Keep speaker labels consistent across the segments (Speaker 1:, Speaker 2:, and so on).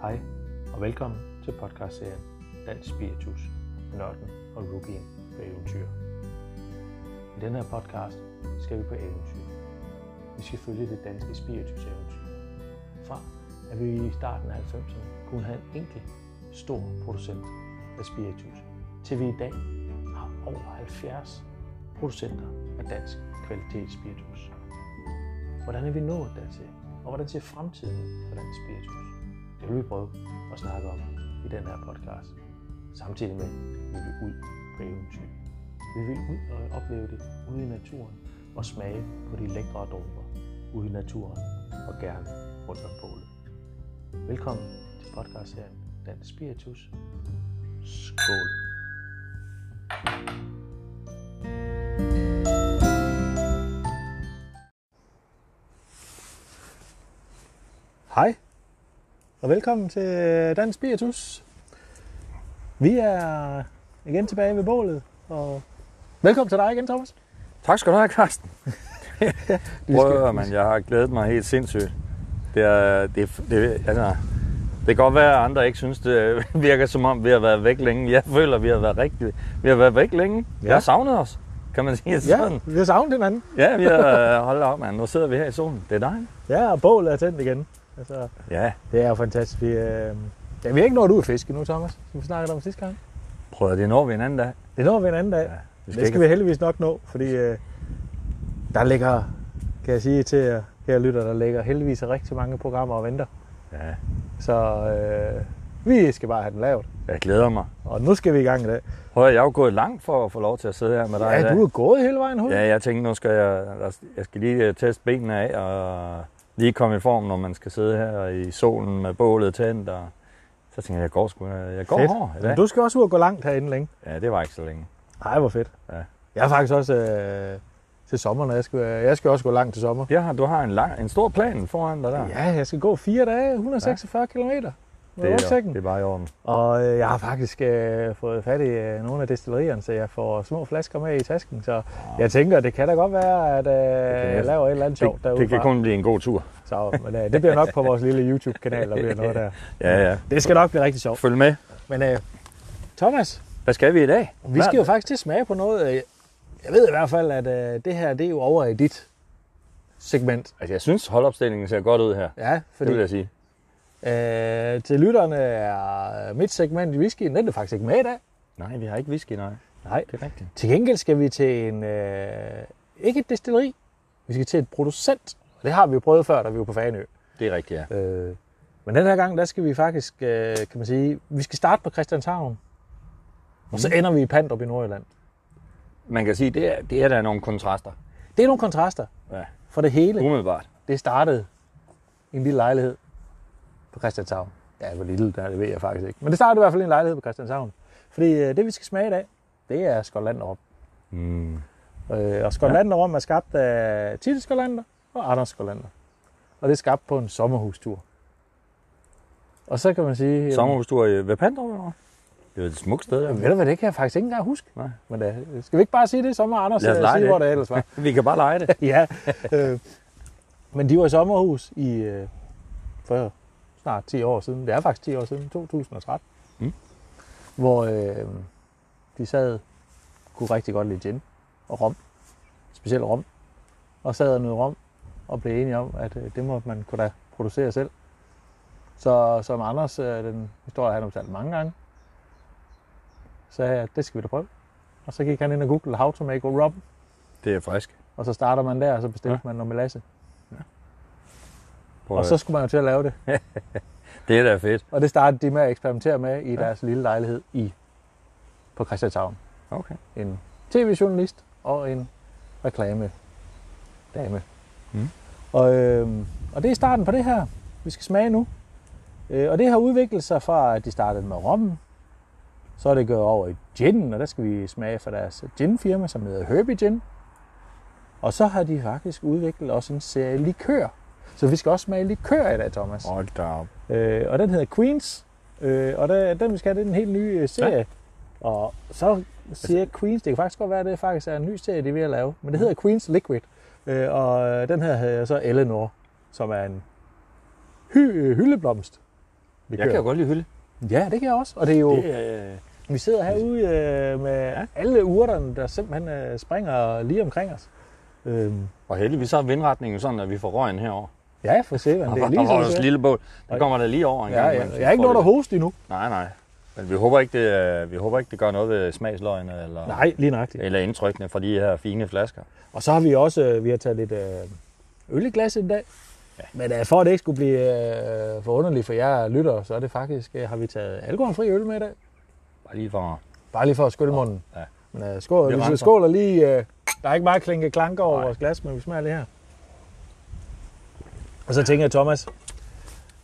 Speaker 1: Hej og velkommen til podcastserien Dansk Spiritus, Nørden og Rookien på eventyr. I den her podcast skal vi på eventyr. Vi skal følge det danske spiritus eventyr. Fra at vi i starten af 90'erne kunne have en enkelt stor producent af spiritus, til vi i dag har over 70 producenter af dansk kvalitetsspiritus. Hvordan er vi nået dertil? Og hvordan ser fremtiden for dansk spiritus? Det vil vi prøve at snakke om i den her podcast. Samtidig med, at vi vil ud på eventyr. Vi vil ud og opleve det ude i naturen og smage på de lækre dråber ude i naturen og gerne rundt om bålet. Velkommen til podcastserien Dansk Spiritus. Skål! Hej og velkommen til Dansk Spiritus. Vi er igen tilbage ved bålet, og velkommen til dig igen, Thomas.
Speaker 2: Tak skal du have, Karsten.
Speaker 1: Vi skal-
Speaker 2: Prøv at man, jeg har glædet mig helt sindssygt. Det, er, det, det, altså, det kan godt være, at andre ikke synes, det virker som om, vi har været væk længe. Jeg føler, vi har været rigtig, vi har været væk længe. Ja. Jeg har savnet os, kan man sige det sådan.
Speaker 1: Ja, vi har savnet hinanden.
Speaker 2: Ja, vi har øh, holdt op, mand. Nu sidder vi her i solen. Det er dejligt.
Speaker 1: Ja, og bålet er tændt igen. Altså,
Speaker 2: Ja,
Speaker 1: det er jo fantastisk. Vi, øh... ja, vi har ikke nået ud at fiske nu, Thomas, som vi snakkede om sidste gang.
Speaker 2: prøv at det når vi en anden dag.
Speaker 1: Det når vi en anden dag.
Speaker 2: Ja,
Speaker 1: det skal, det skal vi heldigvis nok nå, fordi øh, der ligger, kan jeg sige til jer, kære lytter, der ligger heldigvis rigtig mange programmer og venter.
Speaker 2: Ja,
Speaker 1: Så øh, vi skal bare have den lavet.
Speaker 2: jeg glæder mig.
Speaker 1: Og nu skal vi i gang i dag.
Speaker 2: Prøv at jeg er jo gået langt for at få lov til at sidde her med dig i
Speaker 1: Ja,
Speaker 2: dag.
Speaker 1: du er gået hele vejen ud.
Speaker 2: Ja, jeg tænkte, nu skal jeg, jeg skal lige øh, teste benene af og lige komme i form, når man skal sidde her i solen med bålet tændt. Og så tænkte jeg, jeg går, sgu, øh, jeg går
Speaker 1: Fedt.
Speaker 2: hård i dag.
Speaker 1: Men du skal også ud og gå langt herinde længe.
Speaker 2: Ja, det var ikke så længe.
Speaker 1: Nej, hvor fedt.
Speaker 2: Ja.
Speaker 1: Jeg er faktisk også øh, til sommer, når jeg skal, øh, jeg skal også gå langt til sommer.
Speaker 2: Jeg har, du har en, lang, en stor plan foran dig der.
Speaker 1: Ja, jeg skal gå fire dage, 146 km med
Speaker 2: det, er,
Speaker 1: rygsækken.
Speaker 2: det er bare i orden.
Speaker 1: Og øh, jeg har faktisk øh, fået fat i øh, nogle af destillerierne, så jeg får små flasker med i tasken. Så jeg tænker, det kan da godt være, at
Speaker 2: Ah. kan
Speaker 1: øh, jeg
Speaker 2: næsten-
Speaker 1: laver et eller andet sjovt
Speaker 2: Det,
Speaker 1: derude.
Speaker 2: det kan kun blive en god tur.
Speaker 1: Så, men, øh, det bliver nok på vores lille YouTube-kanal, der bliver noget der.
Speaker 2: Ja, ja.
Speaker 1: Det skal nok blive rigtig sjovt.
Speaker 2: Følg med.
Speaker 1: Men øh, Thomas,
Speaker 2: Hvad skal vi i dag?
Speaker 1: Vi skal jo
Speaker 2: Hvad-
Speaker 1: faktisk til at smage på noget. øh, Jeg ved i hvert fald, at øh, det her det er jo over i dit segment.
Speaker 2: Altså, jeg synes, holdopstillingen ser godt ud her.
Speaker 1: Ja,
Speaker 2: Det
Speaker 1: fordi
Speaker 2: vil jeg sige.
Speaker 1: øh, til lytterne er øh, mit segment i whiskyen, den er faktisk ikke med i dag.
Speaker 2: Nej, vi har ikke whisky, nej.
Speaker 1: Nej.
Speaker 2: Det er rigtigt.
Speaker 1: Til gengæld skal vi til en, øh, ikke et destilleri, vi skal til et producent. Og det har vi jo prøvet før, da vi var på Faneø.
Speaker 2: Det er rigtigt, ja.
Speaker 1: Øh, men den her gang, der skal vi faktisk, øh, kan man sige, vi skal starte på Christianshavn. Og
Speaker 2: Mm.
Speaker 1: så ender vi i Pandrup i Nordjylland.
Speaker 2: Man kan sige, det er, det er der nogle kontraster.
Speaker 1: Det er nogle kontraster
Speaker 2: Ja,
Speaker 1: for det hele.
Speaker 2: umiddelbart.
Speaker 1: det startede i en lille lejlighed på Christianshavn. Ja, hvor lille der, er, det ved jeg faktisk ikke. Men det startede i hvert fald i en lejlighed på Christianshavn. Fordi øh, det, vi skal smage i dag, det er Skotlanderop.
Speaker 2: Mm.
Speaker 1: Øh, og Skotlanderop er skabt af Tille Skolander og Anders Skolander. Og det er skabt på en sommerhustur. Og så kan man sige... jamen,
Speaker 2: Sommerhustur i ved Pandrup, eller hvad? Det er et smukt sted, der.
Speaker 1: Ved du hvad, det kan jeg faktisk ikke engang huske.
Speaker 2: Nej.
Speaker 1: Men øh, skal vi ikke bare sige det, så må Anders
Speaker 2: Lad os
Speaker 1: øh,
Speaker 2: lege
Speaker 1: sige,
Speaker 2: det.
Speaker 1: hvor det ellers var.
Speaker 2: Vi kan bare lege det.
Speaker 1: ja. Øh, men de var i sommerhus i øh, for snart 10 år siden. Det er faktisk 10 år siden, 2013.
Speaker 2: Mm.
Speaker 1: Hvor øh, de sad, kunne rigtig godt lide gin og rom. Specielt rom. Og sad og nød rom og blev enige om, at øh, det må man kunne da producere selv. Så som Anders, øh, den historie han har fortalt mange gange, sagde jeg, at det skal vi da prøve. Og så gik han ind og googlede how to make a rum
Speaker 2: Det er frisk.
Speaker 1: og så starter man der, og så bestiller ja. man noget melasse.
Speaker 2: Prøv
Speaker 1: Og
Speaker 2: at-
Speaker 1: så skulle man jo til at lave det.
Speaker 2: det er da fedt.
Speaker 1: Og det startede de med at eksperimentere med i ja. deres lille lejlighed i på Christianshavn.
Speaker 2: Okay.
Speaker 1: En tv-journalist og en reklame dame.
Speaker 2: Mm.
Speaker 1: Og, øhm, og det er starten på det her, vi skal smage nu. Øh, og det har udviklet sig fra, at de startede med rommen, så er det gået over i gin, og der skal vi smage fra deres ginfirma, som hedder Herbie Gin. Og så har de faktisk udviklet også en serie likør. Så vi skal også smage likør i dag, Thomas.
Speaker 2: Hold da op.
Speaker 1: Øh, og den hedder Queens. Øh, og der, den vi skal have, det er en helt ny øh, serie. Ja. Og så siger
Speaker 2: Altså-
Speaker 1: Queens, det kan faktisk godt være, at det faktisk er en ny serie, de er ved at lave. Men det hedder Queens Liquid. Øh, og øh, den her hedder så Eleanor, som er en hy- øh, hyldeblomst. Vi
Speaker 2: Jeg kan jo godt lide hylde.
Speaker 1: Ja, det kan jeg også. Og det er jo,
Speaker 2: Det, er- øh,
Speaker 1: vi sidder herude øh, med ja.
Speaker 2: Ja.
Speaker 1: alle urterne, der simpelthen øh, springer lige omkring os. Øhm,
Speaker 2: og heldigvis så er vindretningen sådan, at vi får røgen herover.
Speaker 1: ja, for se,
Speaker 2: Og
Speaker 1: det
Speaker 2: der
Speaker 1: er lige
Speaker 2: var
Speaker 1: sådan.
Speaker 2: også
Speaker 1: det
Speaker 2: et
Speaker 1: er.
Speaker 2: lille bål. Der kommer der lige over en
Speaker 1: Ja,
Speaker 2: gang.
Speaker 1: ja.
Speaker 2: imellem, så
Speaker 1: Jeg er ikke
Speaker 2: får
Speaker 1: noget, der
Speaker 2: vi-
Speaker 1: hoster endnu.
Speaker 2: Nej, nej. Men vi håber ikke, det, øh, vi håber ikke, det gør noget ved smagsløgene eller,
Speaker 1: Nej, lige nøjagtigt.
Speaker 2: eller indtrykkene fra de her fine flasker.
Speaker 1: Og så har vi også øh, vi har taget lidt øh, øl i glasset i dag. Ja. Men øh, for at det ikke skulle blive øh, for underligt for jer lyttere, så er det faktisk, øh, har vi taget alkoholfri øl med i dag.
Speaker 2: Bare lige for...
Speaker 1: Bare lige for at skylle munden.
Speaker 2: Ja.
Speaker 1: Men øh, skål,
Speaker 2: Vi
Speaker 1: vi, vi
Speaker 2: renser.
Speaker 1: skåler lige. Øh, der er ikke meget klinke klanke over
Speaker 2: Nej.
Speaker 1: vores glas, men vi smager lige her. Og så tænker jeg, Thomas,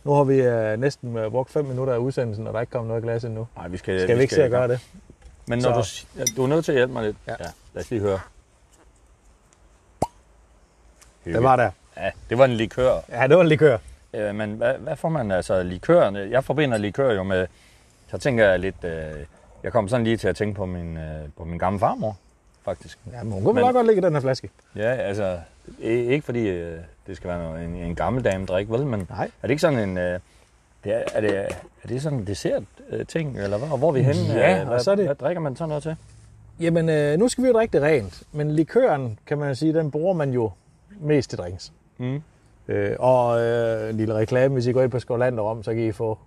Speaker 1: nu har vi øh, næsten øh, brugt 5 minutter af udsendelsen, og der er ikke kommet noget glas endnu.
Speaker 2: Nej, vi skal,
Speaker 1: Skal vi ikke se at gøre det?
Speaker 2: Men når
Speaker 1: Så-
Speaker 2: du, du er nødt til at hjælpe mig lidt.
Speaker 1: Ja.
Speaker 2: lad os lige høre.
Speaker 1: Det var der.
Speaker 2: Ja, det var en likør.
Speaker 1: Ja, det var en likør.
Speaker 2: Øh, men hvad, hvad får man altså likørerne? Jeg forbinder likør jo med... Så tænker jeg lidt... Øh, jeg kom sådan lige til at tænke på min, øh, på min gamle farmor, faktisk.
Speaker 1: Ja, men hun kunne
Speaker 2: Men-
Speaker 1: men... godt ligge i den her flaske.
Speaker 2: Ja, altså... i- Ikke fordi øh, det skal være noget, en, en gammel dame drik, vel? Men
Speaker 1: Nej.
Speaker 2: er det ikke sådan en... Øh, det er, er, det, er det sådan en dessert-ting, eller hvad? Og hvor er vi henne?
Speaker 1: Ja,
Speaker 2: Øh,
Speaker 1: og
Speaker 2: hvad,
Speaker 1: så er det-
Speaker 2: Hvad drikker man sådan noget til?
Speaker 1: Jamen, øh, nu skal vi jo drikke det rent, men likøren, kan man jo sige, den bruger man jo mest til drinks.
Speaker 2: Mm.
Speaker 1: Øh, og øh, en lille reklame, hvis I går ind på Skåland om, så kan I få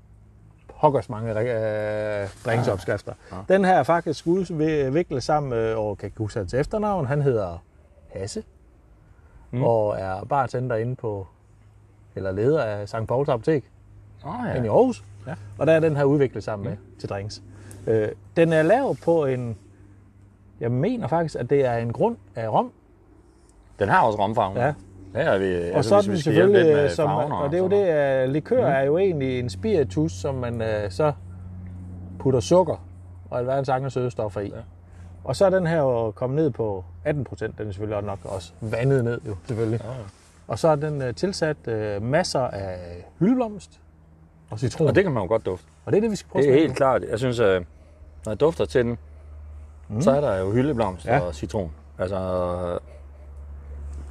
Speaker 1: pokkers mange øh, drinksopskrifter.
Speaker 2: Ah. Ah.
Speaker 1: Den her er faktisk udviklet sammen med, og kan ikke huske hans efternavn, han hedder Hasse, mm.
Speaker 2: Mm.
Speaker 1: og er bartender inde på, eller leder af St. Pauls Apotek
Speaker 2: Oh,
Speaker 1: ja.
Speaker 2: ja.
Speaker 1: end i Aarhus. Ja.
Speaker 2: Ja. Mm.
Speaker 1: Og der er den her udviklet sammen med til drinks. Øh, den er lavet på en, jeg mener faktisk, at det er en grund af
Speaker 2: Mm.
Speaker 1: rom.
Speaker 2: Den har også romfarven.
Speaker 1: Ja.
Speaker 2: Her er altså, vi,
Speaker 1: og så er den selvfølgelig, øh, som,
Speaker 2: farven
Speaker 1: og det er jo det, at likør mm. er jo egentlig en spiritus, som man øh, så putter sukker og alverdens andre søde stoffer i. Ja. Og så er den her jo kommet ned på 18 procent, den er selvfølgelig også nok også vandet ned jo, selvfølgelig. Ja. Og så er den øh, tilsat øh, masser af hyldeblomst og citron.
Speaker 2: Og det kan man jo godt dufte.
Speaker 1: og det er det, vi skal prøve
Speaker 2: Det
Speaker 1: at
Speaker 2: er
Speaker 1: smage
Speaker 2: helt klart. Jeg synes, øh, når jeg dufter til den, mm. så er der jo hyldeblomst
Speaker 1: Ja.
Speaker 2: ja. og citron. Altså, øh,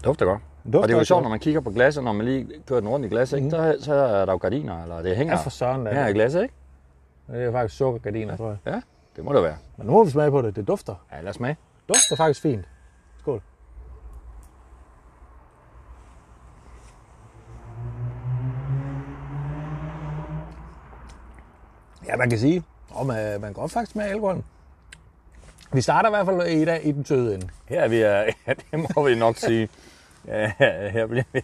Speaker 2: dufter godt.
Speaker 1: Dufter
Speaker 2: og det er jo
Speaker 1: rigtig
Speaker 2: sjovt,
Speaker 1: godt.
Speaker 2: når man kigger på glasset, når man lige kører den rundt i glasset, mm. så, så er der jo gardiner, eller det hænger
Speaker 1: Ja, for søren da.
Speaker 2: hænger i glasset, ikke?
Speaker 1: Det er faktisk sukkergardiner, tror jeg.
Speaker 2: Ja, det må det være.
Speaker 1: Men nu må vi smage på det. Det dufter.
Speaker 2: Ja, lad os smage.
Speaker 1: Dufter faktisk fint. Skål. Ja, man kan sige, og man, man kan godt faktisk smage alkoholen. Vi starter i hvert fald i dag i den søde ende.
Speaker 2: Her er vi, øh, ja, det må vi nok sige. Ja, her, bliver vi,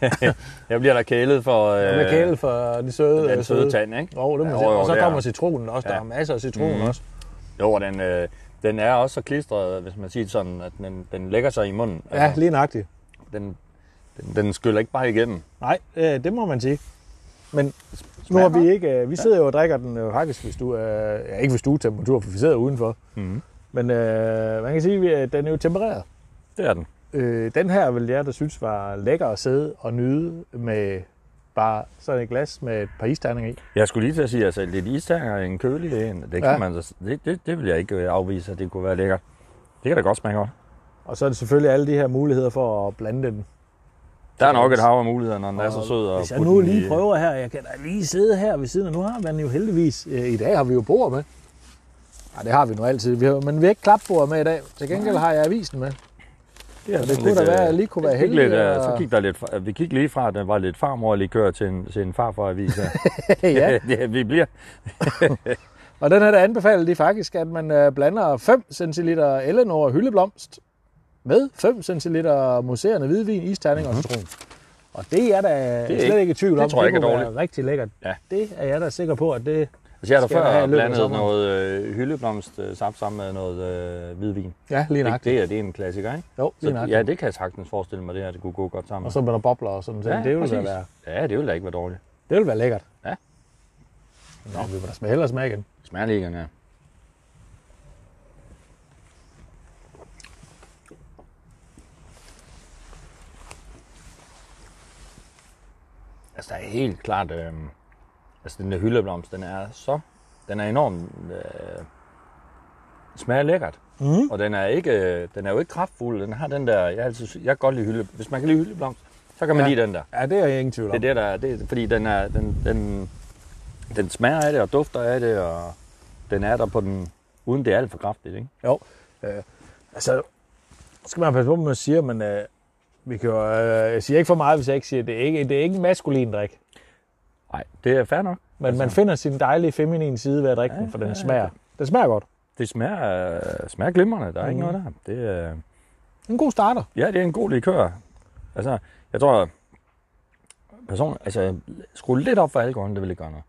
Speaker 2: her bliver der kælet for...
Speaker 1: Øh, med kæle for de søde.
Speaker 2: den søde tand, ikke?
Speaker 1: Jo, det må
Speaker 2: Ja,
Speaker 1: man sige.
Speaker 2: jo, jo,
Speaker 1: Og så
Speaker 2: det er
Speaker 1: kommer
Speaker 2: der.
Speaker 1: citronen også. Der
Speaker 2: Ja.
Speaker 1: er masser af citron
Speaker 2: Mhm.
Speaker 1: også.
Speaker 2: Jo, og den, øh, den er også så klistret, hvis man siger det sådan, at den, den lægger sig i munden. Altså,
Speaker 1: Ja, lige nøjagtigt.
Speaker 2: den, den, den skyller ikke bare igennem.
Speaker 1: Nej, øh, det må man sige. Men nu har vi ikke... Øh, vi sidder jo og drikker den øh, faktisk, hvis du... Øh, ja, ikke hvis du er temperatur, for vi sidder udenfor.
Speaker 2: Mm.
Speaker 1: Men øh, man kan sige, at den er jo tempereret.
Speaker 2: Det er den.
Speaker 1: Øh, den her vil jeg, der synes var lækker at sidde og nyde med bare sådan et glas med et par isterninger i.
Speaker 2: Jeg skulle lige til at sige, altså lidt isterninger i en kølig en, det, kan
Speaker 1: Ja.
Speaker 2: ja. man, da- det, det, det vil jeg ikke øh, afvise, at det kunne være lækkert. Det kan da godt smage godt.
Speaker 1: Og så er det selvfølgelig alle de her muligheder for at blande den.
Speaker 2: Der er nok et hav af muligheder, når den er så
Speaker 1: Og
Speaker 2: sød. Og
Speaker 1: Hvis jeg
Speaker 2: putte
Speaker 1: nu
Speaker 2: den i-
Speaker 1: lige prøver her, jeg kan da lige sidde her ved siden af. Nu har man jo heldigvis... Øh, I dag har vi jo bord med. Nej, det har vi nu altid. Vi har, men vi har ikke klapbord med i dag. Til gengæld har jeg avisen med.
Speaker 2: Det, er
Speaker 1: det
Speaker 2: sådan
Speaker 1: kunne da
Speaker 2: øh,
Speaker 1: være, at jeg lige kunne
Speaker 2: det
Speaker 1: være
Speaker 2: gik
Speaker 1: heldig
Speaker 2: Lidt, øh,
Speaker 1: og-
Speaker 2: så gik der lidt, fra- vi gik lige fra, at den var lidt farmor lige kører til en, til en farfar-avis. her.
Speaker 1: ja.
Speaker 2: ja, vi bliver.
Speaker 1: Og den her, der anbefaler de faktisk, at man øh, blander 5 cl Eleanor hyldeblomst med 5 cl mousserende hvidvin, isterning mm-hmm. og citron. Og det er da
Speaker 2: Mhm. Det
Speaker 1: det
Speaker 2: er
Speaker 1: er slet
Speaker 2: ikke-
Speaker 1: ikke i tvivl
Speaker 2: det
Speaker 1: om,
Speaker 2: tror jeg ikke
Speaker 1: det
Speaker 2: er
Speaker 1: kunne være
Speaker 2: dårligt.
Speaker 1: rigtig lækkert.
Speaker 2: Ja.
Speaker 1: Det er jeg da sikker på, at det...
Speaker 2: Altså, jeg har
Speaker 1: Skal
Speaker 2: da
Speaker 1: jeg have
Speaker 2: før
Speaker 1: i løbet af
Speaker 2: blandet
Speaker 1: sommeren?
Speaker 2: noget øh, hyldeblomstsaft sammen med noget øh, hvidvin.
Speaker 1: Ja, lige
Speaker 2: Det,
Speaker 1: nok.
Speaker 2: det, er, det er en klassiker, ikke?
Speaker 1: Jo, lige
Speaker 2: Så,
Speaker 1: nok.
Speaker 2: ja, det kan jeg sagtens forestille mig, det her det kunne gå godt sammen.
Speaker 1: Og så med der bobler og sådan noget. Ja,
Speaker 2: Ja,
Speaker 1: det ville da
Speaker 2: præcis.
Speaker 1: være,
Speaker 2: Ja, det ville da ikke være dårligt.
Speaker 1: det ville være lækkert.
Speaker 2: Ja.
Speaker 1: Nå, vi må da smage hellere smage igen.
Speaker 2: Det smager lige igen, ja. Altså, der er helt klart... Øh, altså, den der hyldeblomst, den er så... Den er enormt... Øh, smager lækkert.
Speaker 1: Mhm.
Speaker 2: Og den er, ikke, øh, den er jo ikke kraftfuld. Den har den der... Jeg, har altid, sy- jeg kan godt lide hylde. Hvis man kan lide hyldeblomst, så kan man
Speaker 1: Ja.
Speaker 2: ja. lide den der.
Speaker 1: Ja, det er jeg ingen tvivl om.
Speaker 2: Det er det, der er, det, er- fordi den er, den, den, den smager af det, og dufter af det, og den er der på den, uden det er alt for kraftigt, ikke?
Speaker 1: Jo. Øh, altså, skal man passe på, hvad man siger, men øh, vi kan jo, øh, jeg siger ikke for meget, hvis jeg ikke siger, det er ikke, det er ikke en maskulin drik.
Speaker 2: Nej, det er fair nok.
Speaker 1: Men altså. man finder sin dejlige feminine side ved at drikke ja, den, for den smager. Den smager godt.
Speaker 2: Det smager, øh, smager glimrende, der er mm. ikke
Speaker 1: Mhm.
Speaker 2: noget der. Det, er-
Speaker 1: En god starter.
Speaker 2: ja, det er en god likør. Altså, jeg tror, person, altså, skru lidt op for alkoholen, det vil ikke gøre noget.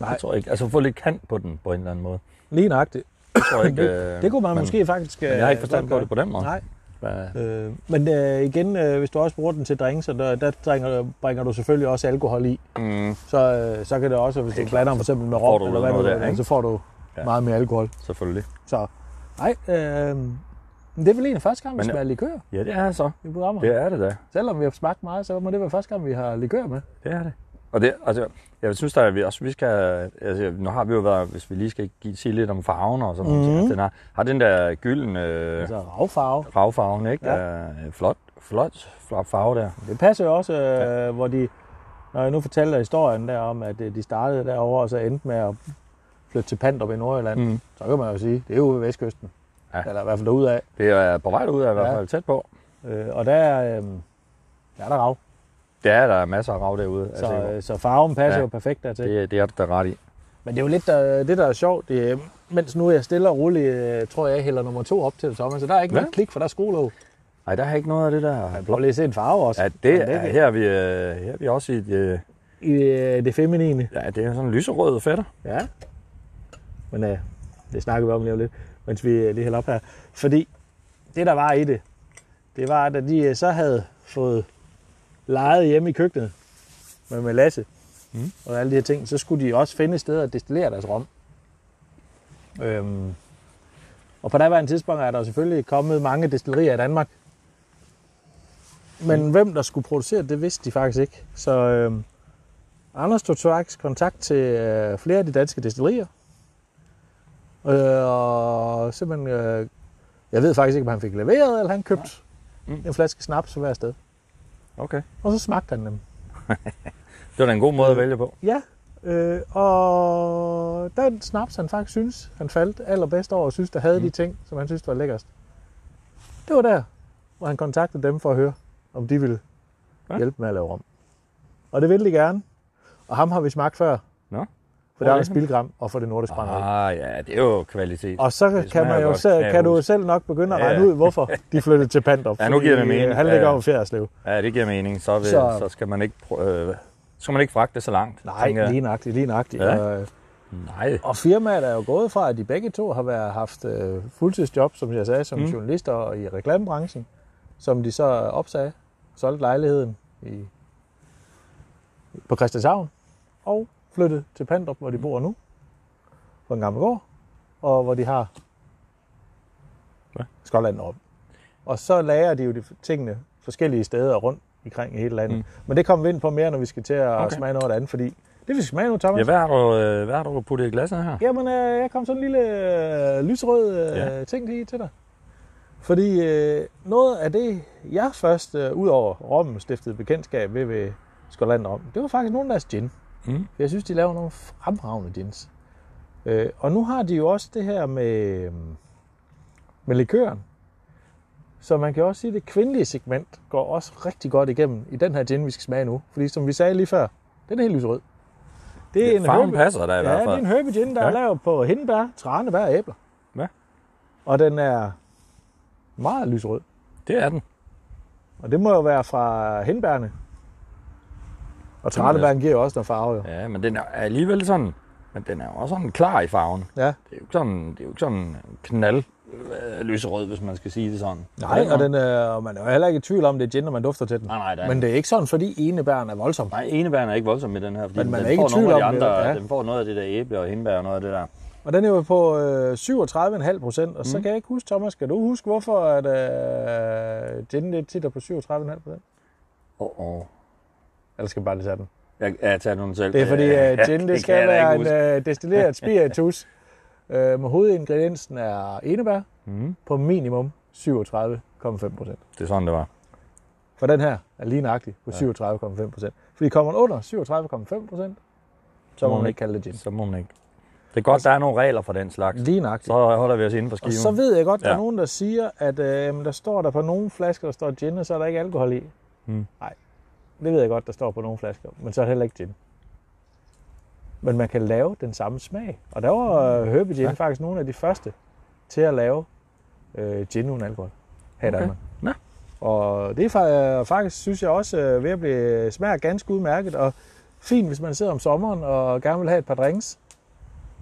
Speaker 1: Nej.
Speaker 2: Jeg tror ikke. Altså, få lidt kant på den på en eller anden måde.
Speaker 1: Lige nøjagtigt.
Speaker 2: Jeg tror ikke,
Speaker 1: Det,
Speaker 2: øh,
Speaker 1: det kunne man
Speaker 2: men-
Speaker 1: måske faktisk... øh,
Speaker 2: men Jeg har ikke forstand på det på den måde.
Speaker 1: Nej.
Speaker 2: Hvad-
Speaker 1: Øh, men øh, igen, øh, hvis du også bruger den til drinks, så der, der dringer, bringer du selvfølgelig også alkohol i.
Speaker 2: Mm,
Speaker 1: Så, øh, så kan det også, hvis du blander for eksempel med
Speaker 2: Får
Speaker 1: rom,
Speaker 2: du
Speaker 1: eller hvad
Speaker 2: noget
Speaker 1: du
Speaker 2: der,
Speaker 1: der,
Speaker 2: ikke?
Speaker 1: så får du ja.
Speaker 2: Ja.
Speaker 1: meget mere alkohol.
Speaker 2: selvfølgelig.
Speaker 1: Så nej, øh, men det er vel en af første gang, vi
Speaker 2: Men-
Speaker 1: smager likør
Speaker 2: Ja, det er så.
Speaker 1: i programmet.
Speaker 2: Det er det da.
Speaker 1: Selvom vi har smagt meget, så må det være første gang, vi har likør med.
Speaker 2: Det er det. Og det, altså, jeg synes da, at vi også vi skal, altså, nu har vi jo været, hvis vi lige skal give, sige lidt om farven og sådan noget,
Speaker 1: Mhm.
Speaker 2: mm. den har, har den der gyldne øh,
Speaker 1: Altså ravfarve.
Speaker 2: ravfarven, ikke?
Speaker 1: Ja.
Speaker 2: Ja. Øh, flot, flot, flot farve der.
Speaker 1: Det passer jo også, øh, ja. hvor de, når jeg nu fortæller historien der om, at øh, de startede derovre, og så endte med at flytte til Pandrup i Nordjylland, mm.
Speaker 2: Mm.
Speaker 1: så kan man jo sige, det er jo ved Vestkysten. Ja.
Speaker 2: Ja.
Speaker 1: Eller i hvert fald derudad.
Speaker 2: Det er på vej ud af i
Speaker 1: Ja.
Speaker 2: hvert fald tæt på.
Speaker 1: Øh, og der, er, øh, der er der rav.
Speaker 2: Det er der er masser af rav derude.
Speaker 1: Så,
Speaker 2: altså,
Speaker 1: øh, så farven passer ja.
Speaker 2: Ja.
Speaker 1: jo perfekt dertil. Det.
Speaker 2: det, det er du da ret i.
Speaker 1: Men det er jo lidt der, det, der er sjovt. Det, er, mens nu er jeg stille og rolig, øh, tror jeg, jeg hælder nummer to op til Thomas. Så der er ikke
Speaker 2: Ja.
Speaker 1: ja. noget klik, for der er skolov.
Speaker 2: Nej, der er ikke noget af det der.
Speaker 1: Prøv lige at se en farve også.
Speaker 2: Ja,
Speaker 1: Men
Speaker 2: det er, her er vi, øh, her er vi også i et, øh,
Speaker 1: I øh, det feminine.
Speaker 2: ja, det er sådan en lyserød fætter.
Speaker 1: Ja. Men øh, det snakker vi om lige om lidt, mens vi øh, lige hælder op her. Fordi det, der var i det, det var, at da de øh, så havde fået lejet hjemme i køkkenet med, med Lasse mm.
Speaker 2: Mm.
Speaker 1: og alle de her ting, så skulle de også finde steder at destillere deres rom. Øhm. Og på daværende tidspunkt er der selvfølgelig kommet mange destillerier i Danmark. Men mm. hvem der skulle producere det, vidste de faktisk ikke. Så øhm, Anders tog straks kontakt til øh, flere af de danske destillerier. Øh, og simpelthen, øh, jeg ved faktisk ikke, om han fik leveret, eller han købte mm.
Speaker 2: Mm.
Speaker 1: en flaske snaps hver sted.
Speaker 2: Okay. Mm.
Speaker 1: Og så smagte han dem.
Speaker 2: Det var da en god måde at vælge på.
Speaker 1: Ja, øh, og den snaps, han faktisk synes, han faldt allerbedst over, og synes, der havde
Speaker 2: Mhm.
Speaker 1: mm. de ting, som han synes var lækkerst. Det var der, hvor han kontaktede dem for at høre, om de ville ja.
Speaker 2: Ja.
Speaker 1: hjælpe med at lave rom. Og det ville de gerne. Og ham har vi smagt før.
Speaker 2: Nå.
Speaker 1: For der er
Speaker 2: er
Speaker 1: en
Speaker 2: han?
Speaker 1: spilgram, og for det nordiske brænderi.
Speaker 2: Ah, ja, det er jo kvalitet.
Speaker 1: Og så
Speaker 2: Det
Speaker 1: kan, man
Speaker 2: smager
Speaker 1: jo
Speaker 2: godt.
Speaker 1: selv,
Speaker 2: Ja, jeg
Speaker 1: kan du
Speaker 2: husker.
Speaker 1: selv nok begynde at
Speaker 2: Ja, ja.
Speaker 1: regne ud, hvorfor de flyttede til Pandrup.
Speaker 2: Ja, nu giver det
Speaker 1: fordi, øh,
Speaker 2: mening.
Speaker 1: Han
Speaker 2: Ja,
Speaker 1: ligger
Speaker 2: ja.
Speaker 1: over Fjerderslev.
Speaker 2: Ja, det giver mening. Så, vil,
Speaker 1: Så-
Speaker 2: så... så skal man ikke prø- øh, skal man ikke fragte det så langt. tænker
Speaker 1: Nej,
Speaker 2: jeg.
Speaker 1: lige nøjagtigt, lige nøjagtigt.
Speaker 2: Ja.
Speaker 1: Og, øh,
Speaker 2: Nej.
Speaker 1: Og firmaet er jo gået fra, at de begge to har været, haft øh, fuldtidsjob, som jeg sagde, som mm.
Speaker 2: Mm.
Speaker 1: journalister og i reklamebranchen, som de så opsagde, solgte lejligheden i, på Christianshavn og flyttede til Pandrup, hvor de bor nu, på en gammel gård, og hvor de har
Speaker 2: Hvad?
Speaker 1: Skotland op. Og så lager de jo de tingene forskellige steder rundt omkring i hele landet. Mm.
Speaker 2: Mm.
Speaker 1: Men det kommer vi ind på mere, når vi skal til at okay.
Speaker 2: Okay.
Speaker 1: smage noget af det andet, fordi det vi skal smage nu, Thomas,
Speaker 2: Ja, hvad har du, øh, hvad har du puttet i glasset her?
Speaker 1: Jamen, øh, jeg kom sådan en lille øh, lysrød øh, ja.
Speaker 2: Ja.
Speaker 1: ting lige til dig. Fordi øh, noget af det, jeg først, øh, ud over rommen, stiftede bekendtskab ved, ved Skotland om, det var faktisk nogle af deres gin.
Speaker 2: Mm.
Speaker 1: For jeg synes, de laver nogle fremragende gins. Øh, og nu har de jo også det her med, øh, med likøren. Så man kan også sige, at det kvindelige segment går også rigtig godt igennem i den her gin, vi skal smage nu. Fordi som vi sagde lige før, den er helt lysrød. Det er en
Speaker 2: Farven
Speaker 1: høbe-
Speaker 2: passer dig i
Speaker 1: Ja,
Speaker 2: hvert
Speaker 1: det er
Speaker 2: fald.
Speaker 1: en herby gin, der ja. er
Speaker 2: Ja.
Speaker 1: lavet på hindbær, tranebær og æbler.
Speaker 2: Ja.
Speaker 1: Og den er meget lysrød.
Speaker 2: Det er den.
Speaker 1: Og det må jo være fra hindbærne. Og tranebærne giver jo også noget farve, jo.
Speaker 2: Ja, men den er alligevel sådan... Men den er jo også sådan klar i farven.
Speaker 1: Ja.
Speaker 2: Det er jo ikke sådan, det er jo ikke sådan knald øh, lyserød, hvis man skal sige det sådan. På
Speaker 1: Nej, og,
Speaker 2: måde.
Speaker 1: den er, og man er jo heller ikke i tvivl om, det er gin, når man dufter til den.
Speaker 2: Nej, nej, der er
Speaker 1: Men det er ikke sådan, fordi enebæren er voldsom.
Speaker 2: Nej, enebæren er ikke voldsom med den her, fordi
Speaker 1: Men
Speaker 2: den,
Speaker 1: man
Speaker 2: den
Speaker 1: er ikke i
Speaker 2: får nogle af
Speaker 1: tvivl
Speaker 2: de
Speaker 1: om det,
Speaker 2: andre,
Speaker 1: ja.
Speaker 2: den får noget af det der æble og hindbær og noget af det der.
Speaker 1: Og den er jo på øh, 37,5 procent, og så kan jeg ikke huske, Thomas, kan du huske, hvorfor at, øh, gin det tit er på 37,5 procent?
Speaker 2: Åh, oh, oh.
Speaker 1: Eller skal jeg bare lige tage den?
Speaker 2: Jeg, jeg tager den selv.
Speaker 1: Det er fordi,
Speaker 2: Øh, Ja,
Speaker 1: at gin det
Speaker 2: kan
Speaker 1: skal
Speaker 2: jeg da ikke
Speaker 1: være en
Speaker 2: huske.
Speaker 1: øh, destilleret spiritus. øh, med hovedingrediensen er enebær
Speaker 2: Mm.
Speaker 1: på minimum 37,5 procent.
Speaker 2: Det er sådan, det var.
Speaker 1: For den her er lige nøjagtig på 37,5 procent. Fordi kommer den under 37,5 procent, så må man ikke kalde det gin.
Speaker 2: Så må man ikke. Det er godt, der er nogle regler for den slags.
Speaker 1: Lige nøjagtigt.
Speaker 2: Så holder vi os inden for
Speaker 1: Og
Speaker 2: skiven.
Speaker 1: så ved jeg godt, der er
Speaker 2: Ja.
Speaker 1: nogen, der siger, at øh, jamen, der står der på nogle flasker, der står gin, og så er der ikke alkohol i.
Speaker 2: Mm.
Speaker 1: Nej, det ved jeg godt, der står på nogle flasker, men så er der heller ikke gin. Men man kan lave den samme smag. Og der var øh,
Speaker 2: Hmm.
Speaker 1: Herbie Gin ja. faktisk nogle af de første til at lave øh, gin uden alkohol her i
Speaker 2: Okay.
Speaker 1: Danmark.
Speaker 2: Nå.
Speaker 1: Og det er fa- øh, faktisk, synes jeg også, øh, ved at blive smager ganske udmærket, og fint, hvis man sidder om sommeren og gerne vil have et par drinks,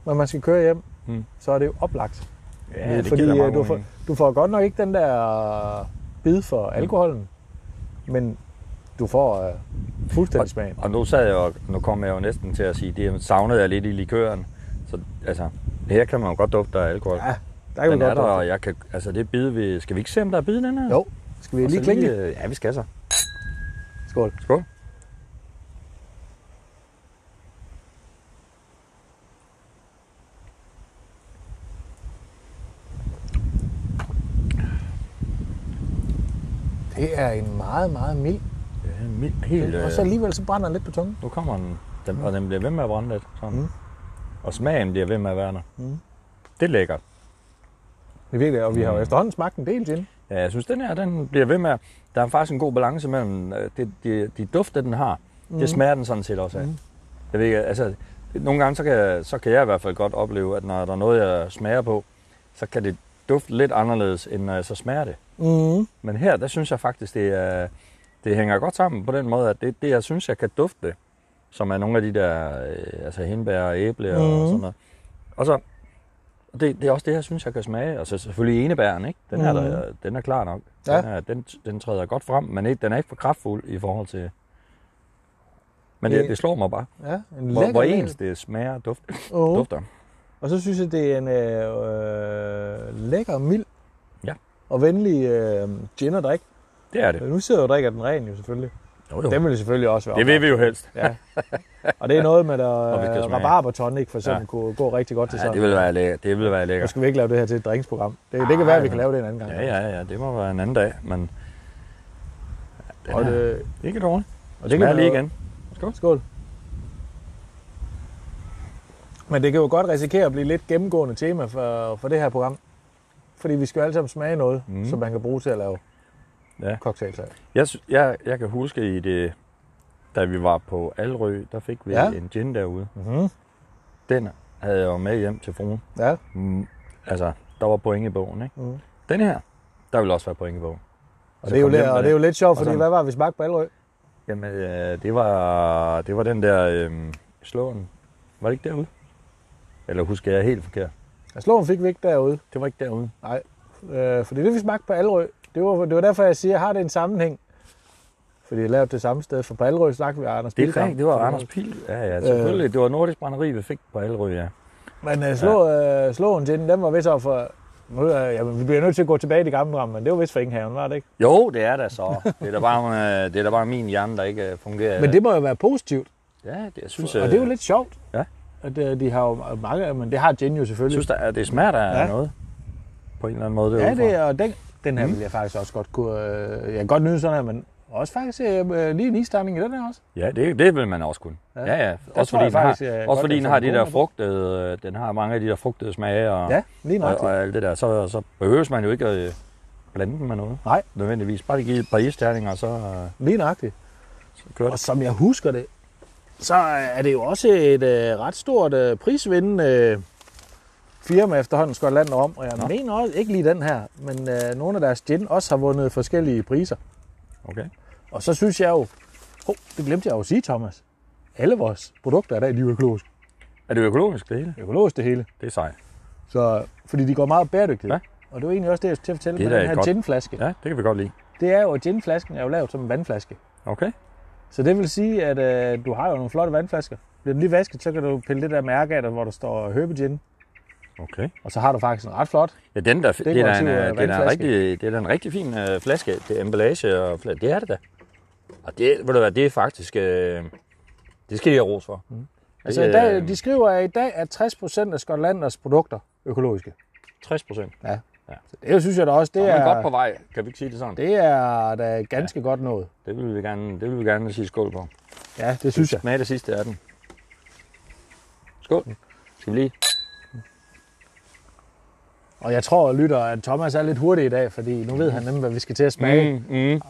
Speaker 1: men man skal køre hjem,
Speaker 2: Mm.
Speaker 1: så er det jo oplagt.
Speaker 2: ja, det
Speaker 1: fordi,
Speaker 2: giver
Speaker 1: øh,
Speaker 2: meget
Speaker 1: du, får,
Speaker 2: mening.
Speaker 1: du får godt nok ikke den der bid
Speaker 2: Mm.
Speaker 1: for alkoholen, men du får øh, fuldstændig smagen.
Speaker 2: Og nu sad jeg jo, nu kom jeg jo næsten til at sige, det savnede jeg lidt i likøren. Så altså, her kan man jo godt dufte der er alkohol.
Speaker 1: Ja, der kan
Speaker 2: den
Speaker 1: vi
Speaker 2: er
Speaker 1: godt
Speaker 2: der,
Speaker 1: der,
Speaker 2: og jeg kan, altså det bide vi, skal vi ikke se, om der er bide i den her?
Speaker 1: Jo, skal vi
Speaker 2: Og så
Speaker 1: lige klinke?
Speaker 2: øh, Ja, vi skal så.
Speaker 1: Skål.
Speaker 2: Skål.
Speaker 1: Det er en meget, meget mild.
Speaker 2: Ja, mild- helt,
Speaker 1: Og
Speaker 2: øh,
Speaker 1: så alligevel så brænder den lidt på tungen.
Speaker 2: nu kommer den, den, og den bliver ved med at brænde lidt. Sådan.
Speaker 1: Mm.
Speaker 2: Og smagen bliver ved med at være der.
Speaker 1: Mm.
Speaker 2: Det er lækkert.
Speaker 1: Det er virkelig, og vi har jo
Speaker 2: Mm.
Speaker 1: efterhånden smagt en del gin.
Speaker 2: Ja, jeg synes, den her, den bliver ved med at, der er faktisk en god balance mellem øh, det, de, de dufte, den har, mm. det smager den sådan set også af. Mm.
Speaker 1: Mm.
Speaker 2: Jeg ved ikke, altså, nogle gange, så kan, så kan jeg i hvert fald godt opleve, at når der er noget, jeg smager på, så kan det dufte lidt anderledes, end når jeg så smager det.
Speaker 1: Mm.
Speaker 2: Men her, der synes jeg faktisk, det, er, det hænger godt sammen på den måde, at det, det jeg synes, jeg kan dufte, som er nogle af de der øh, altså hindbær og æble og
Speaker 1: Mhm.
Speaker 2: sådan noget. Og så, og det, det er også det, jeg synes, jeg kan smage. Og så selvfølgelig enebæren, ikke? Den, er, der, den er klar nok.
Speaker 1: Mhm. Ja.
Speaker 2: Den, er, den, den træder godt frem, men ikke, den er ikke for kraftfuld i forhold til... Men det,
Speaker 1: Det-
Speaker 2: det slår mig bare,
Speaker 1: Ja, en
Speaker 2: hvor,
Speaker 1: lækker Mhm.
Speaker 2: hvor
Speaker 1: mild.
Speaker 2: ens det smager og duft,
Speaker 1: Åh.
Speaker 2: dufter.
Speaker 1: Og så synes jeg, det er en øh, øh, lækker, mild
Speaker 2: Ja.
Speaker 1: og venlig øh, gin at drikke.
Speaker 2: Det er
Speaker 1: Øh,
Speaker 2: det.
Speaker 1: Nu sidder jeg jo og drikker den ren jo selvfølgelig.
Speaker 2: Jo,
Speaker 1: Den vil jo selvfølgelig også være
Speaker 2: Det vil vi jo helst.
Speaker 1: Ja. Og det er noget med, at
Speaker 2: vi skal
Speaker 1: øh,
Speaker 2: smage.
Speaker 1: rabarber tonic for eksempel
Speaker 2: Ja.
Speaker 1: ja. kunne gå rigtig godt til
Speaker 2: Ja,
Speaker 1: sådan.
Speaker 2: det vil være lækkert. Det vil være
Speaker 1: Nu
Speaker 2: lækkert.
Speaker 1: skal vi ikke lave det her til et drinksprogram. Det, det kan være, at vi
Speaker 2: Ej,
Speaker 1: kan lave det en anden gang.
Speaker 2: Ja, ja, ja. Det må være en anden dag, men... Ja, den
Speaker 1: Og
Speaker 2: er-
Speaker 1: det,
Speaker 2: Ikke dårligt. Og
Speaker 1: det
Speaker 2: det kan
Speaker 1: kan
Speaker 2: lige
Speaker 1: man-
Speaker 2: igen.
Speaker 1: skål. Men det kan jo godt risikere at blive lidt gennemgående tema for, for det her program. Fordi vi skal jo alle sammen smage noget,
Speaker 2: Mm.
Speaker 1: mm. som man kan bruge til at lave
Speaker 2: Ja.
Speaker 1: ja. cocktails af.
Speaker 2: Jeg, sy- jeg, jeg kan huske i det, da vi var på Alrø, der fik vi ja.
Speaker 1: Ja.
Speaker 2: en gin derude.
Speaker 1: Mm-hmm.
Speaker 2: Den havde jeg jo med hjem til fruen.
Speaker 1: Ja.
Speaker 2: Mm, altså, der var point i bogen, ikke?
Speaker 1: Mm.
Speaker 2: Den her, der ville også være point i bogen.
Speaker 1: Og, det er, jo lidt, og det er jo lidt sjovt,
Speaker 2: Og
Speaker 1: fordi
Speaker 2: sådan-
Speaker 1: hvad var vi smagte på Allerød?
Speaker 2: Jamen, øh, det, var, det var den der øh, slåen. Var det ikke derude? Eller husker jeg helt forkert?
Speaker 1: Ja, slåen fik vi ikke derude.
Speaker 2: Det var ikke derude.
Speaker 1: Øh, fordi det, vi smagte på Allerød, det var, det var derfor, jeg siger, at har det en sammenhæng? Fordi jeg lavede det samme sted, for på Allerød snakkede vi Anders
Speaker 2: Det, er
Speaker 1: Bilkamp.
Speaker 2: rigtigt, det var Anders Pil. Ja, ja, selvfølgelig. Øh. Det var Nordisk Brænderi, vi fik på Alrø, ja.
Speaker 1: Men øh, slå, øh, slåen til den, den var vist over for... Nu, øh, jamen, vi bliver nødt til at gå tilbage i det gamle program, men det var vist for Ingenhaven, var det ikke?
Speaker 2: Jo, det er da så. Det er da bare, øh, det er da bare min hjerne, der ikke øh, fungerer.
Speaker 1: Men det må jo være positivt,
Speaker 2: Ja, det, jeg synes, øh,
Speaker 1: og det er jo lidt sjovt.
Speaker 2: Ja.
Speaker 1: At øh, de har jo mange, men det har Gin jo
Speaker 2: jeg
Speaker 1: selvfølgelig.
Speaker 2: synes, der er, det smager der ja.
Speaker 1: Ja.
Speaker 2: noget. På en eller anden måde.
Speaker 1: ja,
Speaker 2: derudefra.
Speaker 1: det er, og den, den her mm. vil jeg faktisk også godt kunne... Øh, jeg kan godt nyde sådan her, men også faktisk øh, lige en isterning i den her også.
Speaker 2: Ja, det, det vil man også kunne. Ja,
Speaker 1: Ja.
Speaker 2: ja. ja.
Speaker 1: tror
Speaker 2: Også fordi,
Speaker 1: jeg
Speaker 2: den har,
Speaker 1: faktisk, jeg godt, altså,
Speaker 2: også fordi
Speaker 1: jeg
Speaker 2: den
Speaker 1: får
Speaker 2: har
Speaker 1: en
Speaker 2: de
Speaker 1: god
Speaker 2: der
Speaker 1: med.
Speaker 2: frugtede, øh, den har mange af de der frugtede smage og,
Speaker 1: Ja, lige
Speaker 2: Ah. og,
Speaker 1: nøjagtigt.
Speaker 2: og, alt det der. Så, så behøves man jo ikke at øh, blande den med noget.
Speaker 1: Nej.
Speaker 2: Nødvendigvis. Bare give et par isterninger, og så, øh,
Speaker 1: Lige nøjagtigt.
Speaker 2: så kører
Speaker 1: Og
Speaker 2: det.
Speaker 1: som jeg husker det, så er det jo også et øh, ret stort øh, prisvindende øh, firma efterhånden Skotland om. Og jeg
Speaker 2: Nå.
Speaker 1: Nå. mener også, ikke lige den her, men øh, nogle af deres gin også har vundet forskellige priser.
Speaker 2: Okay.
Speaker 1: Og så synes jeg jo, oh, det glemte jeg jo at sige, Thomas. Alle vores produkter er der, de er økologisk.
Speaker 2: Er det økologisk, det hele?
Speaker 1: Økologisk det hele.
Speaker 2: Det er sejt.
Speaker 1: Så, fordi de går meget bæredygtigt.
Speaker 2: Ja.
Speaker 1: Og det var egentlig også det, jeg skulle til at fortælle
Speaker 2: Det
Speaker 1: med
Speaker 2: er da
Speaker 1: den
Speaker 2: et
Speaker 1: her
Speaker 2: godt-
Speaker 1: ginflaske.
Speaker 2: Ja, det kan vi godt lide.
Speaker 1: Det er jo, at ginflasken er jo lavet som en vandflaske.
Speaker 2: Okay.
Speaker 1: Så det vil sige, at øh, du har jo nogle flotte vandflasker. Bliver den lige vasket, så kan du pille det der mærke af dig, hvor der står Herbe Gin.
Speaker 2: Okay.
Speaker 1: Og så har du faktisk en ret flot.
Speaker 2: Ja, den der, det, er da
Speaker 1: Dekorativ,
Speaker 2: en,
Speaker 1: øh,
Speaker 2: øh, det, er da en
Speaker 1: vandflaske.
Speaker 2: rigtig, det er da en rigtig fin øh, flaske. Det er emballage og flaske. Det er det da. Og det, ved du hvad, det er faktisk... Øh, det øh, skal de have ros for. Mm.
Speaker 1: Altså, i dag, de skriver, at i dag er 60% af Skotlanders produkter økologiske.
Speaker 2: 60 procent.
Speaker 1: Så det synes jeg da også, det
Speaker 2: Det er godt på
Speaker 1: er,
Speaker 2: vej, kan vi ikke sige det sådan? Det,
Speaker 1: det er da ganske ja. godt nået.
Speaker 2: det, vil, vi gerne, det vil vi gerne sige skål på.
Speaker 1: Ja, det synes jeg.
Speaker 2: Smag det sidste af den. Skål. Skal vi lige?
Speaker 1: Og jeg tror, lytter, at Thomas er lidt hurtig i dag, fordi nu ved han nemlig, hvad vi skal til at smage. Mm.
Speaker 2: mm.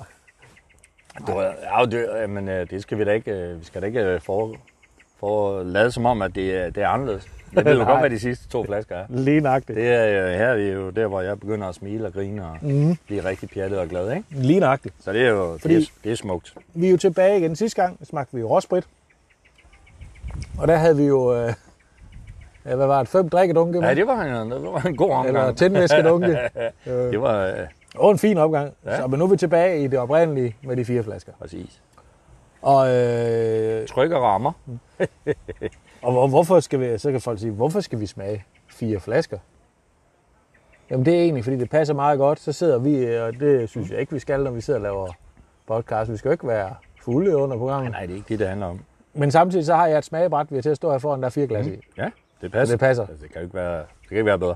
Speaker 2: Det var, ja, det, øh, men øh, det skal vi da ikke, øh, vi skal da ikke øh, for, for lade som om, at det, er- det er anderledes. Jeg ved jo
Speaker 1: Nej.
Speaker 2: godt, hvad de sidste to flasker er.
Speaker 1: Lige nøjagtigt.
Speaker 2: Det er øh, her det er jo der, hvor jeg begynder at smile og grine og
Speaker 1: Mm.
Speaker 2: blive rigtig pjattet og glad, ikke?
Speaker 1: Lige nøjagtigt.
Speaker 2: Så det er jo
Speaker 1: Fordi-
Speaker 2: det er, det er smukt.
Speaker 1: Vi er jo tilbage igen. Sidste gang smagte vi jo råsprit. Og der havde vi jo, øh, ja, hvad var det, fem drikkedunke med?
Speaker 2: Ja, det var en, øh, det var en god
Speaker 1: Eller
Speaker 2: omgang.
Speaker 1: tændvæskedunke. øh,
Speaker 2: Det var øh,
Speaker 1: og en fin opgang. Ja.
Speaker 2: Ja.
Speaker 1: Så, men nu er vi tilbage i det oprindelige med de fire flasker.
Speaker 2: præcis.
Speaker 1: Og, øh,
Speaker 2: Tryk og rammer.
Speaker 1: og hvor, hvorfor skal vi, så kan folk sige, hvorfor skal vi smage fire flasker? Jamen det er egentlig, fordi det passer meget godt. Så sidder vi, øh, og det synes jeg ikke, vi skal, når vi sidder og laver podcast. Vi skal jo ikke være fulde under programmet.
Speaker 2: Nej, det er ikke det, det handler om.
Speaker 1: Men samtidig så har jeg et smagebræt, vi har til at stå her foran, der er fire glas i. Det
Speaker 2: Ja, det passer.
Speaker 1: Så Mhm. det passer.
Speaker 2: Altså, det kan jo ikke være, det kan ikke være bedre.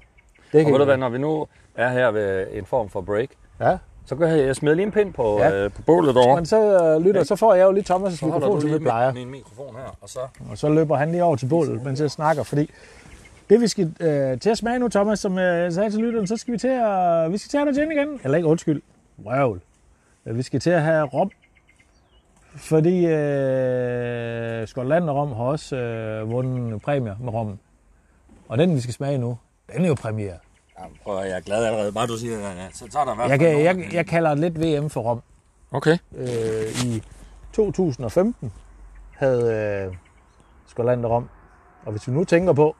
Speaker 1: kan
Speaker 2: Og ved
Speaker 1: vi-
Speaker 2: du hvad, når vi nu er her ved en form for break,
Speaker 1: Ja,
Speaker 2: så kan jeg smide lige en pind på,
Speaker 1: Ja.
Speaker 2: ja. øh, på bålet derovre.
Speaker 1: men så øh, lytter, så får jeg jo lige Thomas'
Speaker 2: Så holder du
Speaker 1: mikrofon, som
Speaker 2: lige
Speaker 1: vi plejer.
Speaker 2: min mikrofon her, og så...
Speaker 1: Og så løber han lige over til bålet, mens jeg snakker, fordi det vi skal øh, til at smage nu, Thomas, som øh, jeg sagde til lytteren, så skal vi til at, vi skal til at have noget gin igen. Eller ikke, undskyld. Røvl. Øh, Vi skal til at have rom. Fordi øh, Skotland og Rom har også øh, vundet præmier med rommen. Og den, vi skal smage nu, den er jo premiere.
Speaker 2: Jamen, prøv at jeg er glad allerede. Bare du siger, ja, så tager der i hvert
Speaker 1: Jeg,
Speaker 2: fald
Speaker 1: kan,
Speaker 2: nogen.
Speaker 1: jeg, jeg kalder lidt VM for rom.
Speaker 2: Okay.
Speaker 1: øh, i 2015 havde øh, Skotland og Rom. Og hvis vi nu tænker på,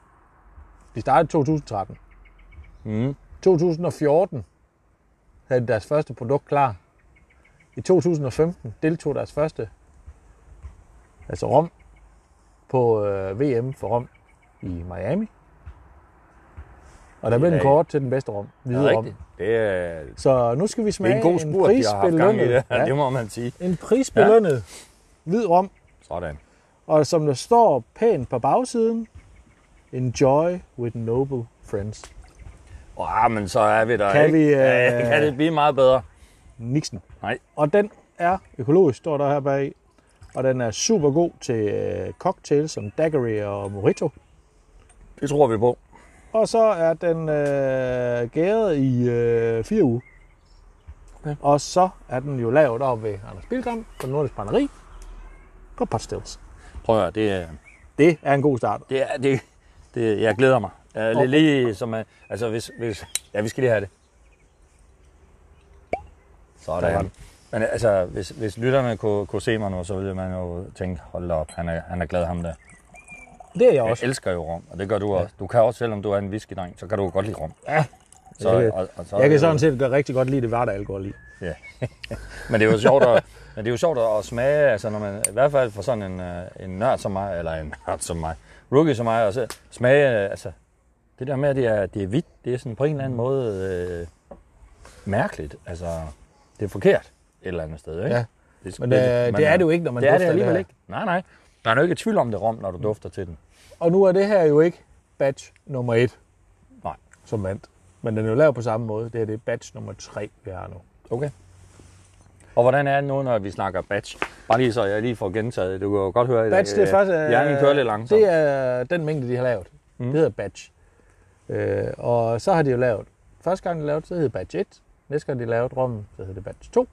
Speaker 1: de startede i 2013.
Speaker 2: Mm.
Speaker 1: 2014 havde de deres første produkt klar. I 2015 deltog deres første, altså Rom, på øh, VM for Rom i Miami. Og der blev den
Speaker 2: Ja,
Speaker 1: kort til den bedste Rom.
Speaker 2: Det
Speaker 1: Hvide
Speaker 2: er
Speaker 1: Rom.
Speaker 2: rigtigt. Det er,
Speaker 1: Så nu skal vi
Speaker 2: det er
Speaker 1: smage
Speaker 2: en god spurt, de har haft gang i
Speaker 1: prisbelønnet,
Speaker 2: det. Ja. Det må man sige.
Speaker 1: ja, en prisbelønnet ja. hvid Rom
Speaker 2: Sådan.
Speaker 1: Og som der står pænt på bagsiden, Enjoy with noble friends.
Speaker 2: Åh, men så er vi der,
Speaker 1: Kan
Speaker 2: ikke?
Speaker 1: vi, øh,
Speaker 2: Ja, kan det blive meget bedre?
Speaker 1: Nixon.
Speaker 2: Nej.
Speaker 1: Og den er økologisk, står der her bag. Og den er super god til øh, cocktails som daiquiri og mojito.
Speaker 2: Det tror vi på.
Speaker 1: Og så er den øh, gæret i øh, fire uger.
Speaker 2: Okay.
Speaker 1: Og så er den jo lavet op ved Anders Bilgram på Nordisk Brænderi på Potstills.
Speaker 2: Prøv at høre, det er...
Speaker 1: Det er en god start.
Speaker 2: Det er, det, det, jeg glæder mig. Uh, lige, lige som, uh, altså hvis, hvis, ja, vi skal lige have det.
Speaker 1: Der var
Speaker 2: Sådan.
Speaker 1: den.
Speaker 2: Men altså, hvis, hvis lytterne kunne, kunne se mig nu, så ville man jo tænke, hold da op, han er, han er glad ham der.
Speaker 1: Det er jeg
Speaker 2: Jeg
Speaker 1: også.
Speaker 2: elsker jo rom, og det gør du også. Du kan også, selvom du er en whiskydreng, så kan du jo godt lide rom.
Speaker 1: Ja.
Speaker 2: Så,
Speaker 1: Jeg kan-
Speaker 2: og, og så,
Speaker 1: Jeg kan sådan set rigtig godt lide det hverdagsalkohol i.
Speaker 2: Ja. men det er jo sjovt at, men det er jo sjovt at smage, altså når man, i hvert fald for sådan en, øh, en nørd som mig, eller en nørd som mig, rookie som mig, og så smage, øh, altså det der med, at det er, det er hvidt, det er sådan på en eller anden måde øh, mærkeligt, altså det er forkert et eller andet sted, ikke?
Speaker 1: Ja.
Speaker 2: Det,
Speaker 1: Men, øh, det er det jo ikke, når man
Speaker 2: det er det
Speaker 1: dufter det Mm.
Speaker 2: alligevel
Speaker 1: her.
Speaker 2: ikke. Nej, nej. Der er jo ikke i tvivl om det rom, når du dufter til den.
Speaker 1: Og nu er det her jo ikke batch nummer et,
Speaker 2: Nej.
Speaker 1: som vandt. Men den er jo lavet på samme måde. Det her det er batch nummer tre, vi har nu.
Speaker 2: Okay. Og hvordan er det nu, når vi snakker batch? Bare lige så jeg lige får gentaget det. Du kan jo godt høre, at
Speaker 1: Batch, det er faktisk... øh,
Speaker 2: hjernen kører lidt langsomt.
Speaker 1: Det er den mængde, de har lavet. Mm. Det hedder batch. Øh, og så har de jo lavet... Første gang, de lavede, så hed det batch 1. Næste gang, de lavede rummen, så hed det batch 2.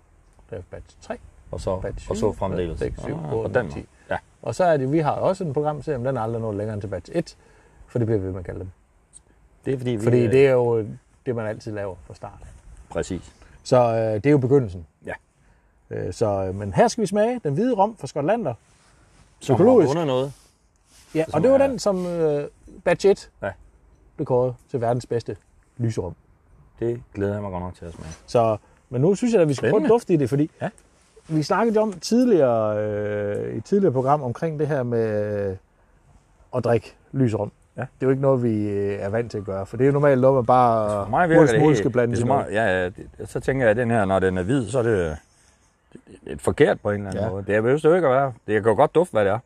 Speaker 1: Det er batch 3.
Speaker 2: Og så,
Speaker 1: Batch
Speaker 2: og
Speaker 1: syv,
Speaker 2: så fremdeles.
Speaker 1: seks, syv,
Speaker 2: Ah,
Speaker 1: otte,
Speaker 2: på den
Speaker 1: ti.
Speaker 2: måde. Ja,
Speaker 1: Og så er det, vi har også en programserie, men den er aldrig nået længere end til batch 1. For det bliver vi ved med at kalde dem.
Speaker 2: det er fordi, vi,
Speaker 1: Fordi
Speaker 2: øh,
Speaker 1: det er jo det, man altid laver fra start.
Speaker 2: Præcis.
Speaker 1: Så øh, det er jo begyndelsen.
Speaker 2: Ja.
Speaker 1: Øh, så, øh, men her skal vi smage den hvide rom fra Skotlander.
Speaker 2: Som
Speaker 1: Økologisk.
Speaker 2: har Under noget.
Speaker 1: Ja, og
Speaker 2: Som
Speaker 1: det var
Speaker 2: er-
Speaker 1: den, som øh, Batch 1
Speaker 2: Ja.
Speaker 1: blev kåret til verdens bedste lyserum.
Speaker 2: Det glæder jeg mig godt nok til at smage.
Speaker 1: Så, men nu synes jeg, at vi skal prøve at
Speaker 2: Spændende.
Speaker 1: dufte i det, fordi
Speaker 2: Ja.
Speaker 1: vi snakkede jo om tidligere, øh, i et tidligere program omkring det her med øh, at drikke lyserum.
Speaker 2: Ja.
Speaker 1: Det er jo ikke noget, vi øh, er vant til at gøre, for det er jo normalt noget, man bare
Speaker 2: Altså, For mig virker det,
Speaker 1: hurtigst muligt
Speaker 2: helt-
Speaker 1: skal blande
Speaker 2: det er
Speaker 1: i
Speaker 2: så
Speaker 1: noget.
Speaker 2: meget, ja, ja, det, så tænker jeg, at den her, når den er hvid, så er det, øh, det- det er forkert på en eller anden
Speaker 1: Ja.
Speaker 2: ja. måde. Det er behøves det jo ikke at være. Det kan jo godt dufte, hvad det er.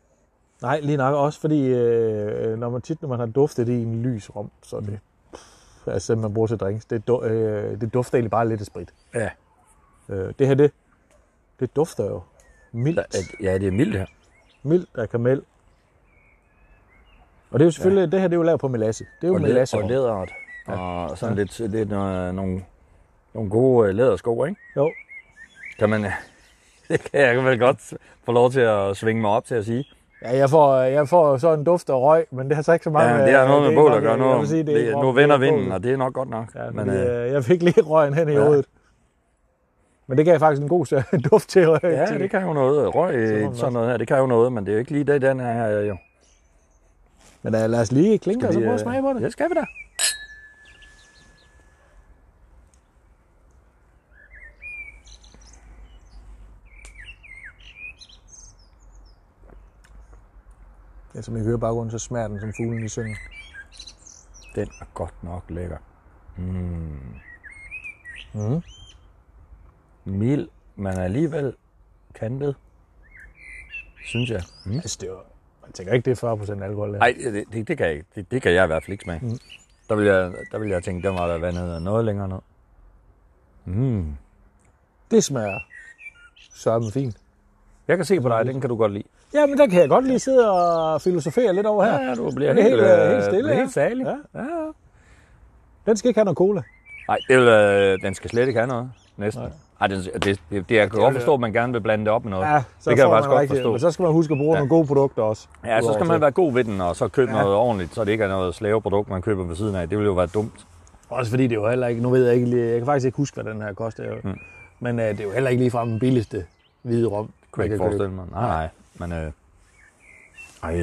Speaker 1: Nej, lige nok også, fordi øh, når man tit, når man har duftet det i en lys rum, så er det, pff, altså man bruger til drinks, det, du, øh, det dufter egentlig bare lidt af sprit.
Speaker 2: Ja.
Speaker 1: Øh, det her, det, det dufter jo mildt,
Speaker 2: At, ja, det er mildt her.
Speaker 1: mildt af kamel. Og det er jo selvfølgelig, ja. det her det er jo lavet på melasse. Det er jo
Speaker 2: Og, led,
Speaker 1: melasse.
Speaker 2: og læderet. Ja. Og sådan lidt, lidt øh, nogle, nogle gode øh, lædersko, ikke?
Speaker 1: Jo,
Speaker 2: Kan man... Det kan jeg vel godt få lov til at svinge mig op til at sige.
Speaker 1: Ja, jeg får, jeg får så en duft af røg, men det har så ikke så meget
Speaker 2: Ja, det har noget med
Speaker 1: er
Speaker 2: bål at
Speaker 1: nok-
Speaker 2: gøre.
Speaker 1: jeg
Speaker 2: Nu,
Speaker 1: vil sige,
Speaker 2: det,
Speaker 1: er-
Speaker 2: nu vender
Speaker 1: det er
Speaker 2: vinden,
Speaker 1: bålet.
Speaker 2: og det er nok godt nok.
Speaker 1: Ja,
Speaker 2: men,
Speaker 1: men,
Speaker 2: øh,
Speaker 1: øh, jeg fik lige røgen hen i
Speaker 2: ja.
Speaker 1: hovedet. Men det gav faktisk en god s- duft til. øh,
Speaker 2: ja,
Speaker 1: til-
Speaker 2: det kan jo noget. Røg,
Speaker 1: Så må man
Speaker 2: øh,
Speaker 1: også-
Speaker 2: sådan noget her, det kan jo noget, men det er jo ikke lige det, den her er øh, jo.
Speaker 1: Men uh, lad os lige klinke, og så
Speaker 2: Vi,
Speaker 1: prøve
Speaker 2: øh,
Speaker 1: at smage på det.
Speaker 2: Ja, skal vi da.
Speaker 1: Ja, som I hører i baggrunden, så smager den som fuglen i søen.
Speaker 2: Den er godt nok lækker. Hmm. Mm.
Speaker 1: Mhm.
Speaker 2: Mild, men alligevel kantet. Synes jeg. Mm.
Speaker 1: Altså, det er jo, jeg tænker ikke, det er 40% alkohol. det her.
Speaker 2: Nej, det, det, det, kan jeg ikke. Det, det, kan jeg i hvert fald ikke smage. Mm. Der, vil jeg, der vil jeg tænke, den var der vandet og noget længere ned. Mm.
Speaker 1: Det smager sørme fint.
Speaker 2: Jeg kan se på dig, den kan du godt lide.
Speaker 1: Ja, men der kan jeg godt lige sidde og filosofere lidt over her.
Speaker 2: Ja, du bliver
Speaker 1: Det er
Speaker 2: helt,
Speaker 1: helt, øh, helt stille,
Speaker 2: bliver
Speaker 1: ja.
Speaker 2: helt særlig.
Speaker 1: Ja.
Speaker 2: ja.
Speaker 1: Den skal ikke have noget cola.
Speaker 2: Nej, det vil, øh, den skal slet ikke have noget. Næsten. Nej. Ej, den, det, det, det, jeg kan godt forstå, at man gerne vil blande det op med noget.
Speaker 1: så
Speaker 2: det kan jeg
Speaker 1: får
Speaker 2: faktisk
Speaker 1: man
Speaker 2: godt
Speaker 1: rigtig-
Speaker 2: forstå.
Speaker 1: Men så skal man huske at bruge
Speaker 2: Ja.
Speaker 1: nogle gode produkter også.
Speaker 2: Ja, så
Speaker 1: Udover
Speaker 2: skal
Speaker 1: til-
Speaker 2: man være god ved den, og så købe ja. noget ordentligt, så det ikke er noget slaveprodukt, man køber ved siden af. Det ville jo være dumt.
Speaker 1: Også fordi det er jo heller ikke, nu ved jeg ikke lige, jeg kan faktisk ikke huske, hvad den her koster. Mm. Men øh, det er jo heller ikke ligefrem den billigste hvide rom.
Speaker 2: Kunne jeg
Speaker 1: man
Speaker 2: ikke
Speaker 1: kan købe.
Speaker 2: forestille mig. Nej, nej. Men, øh, ej, den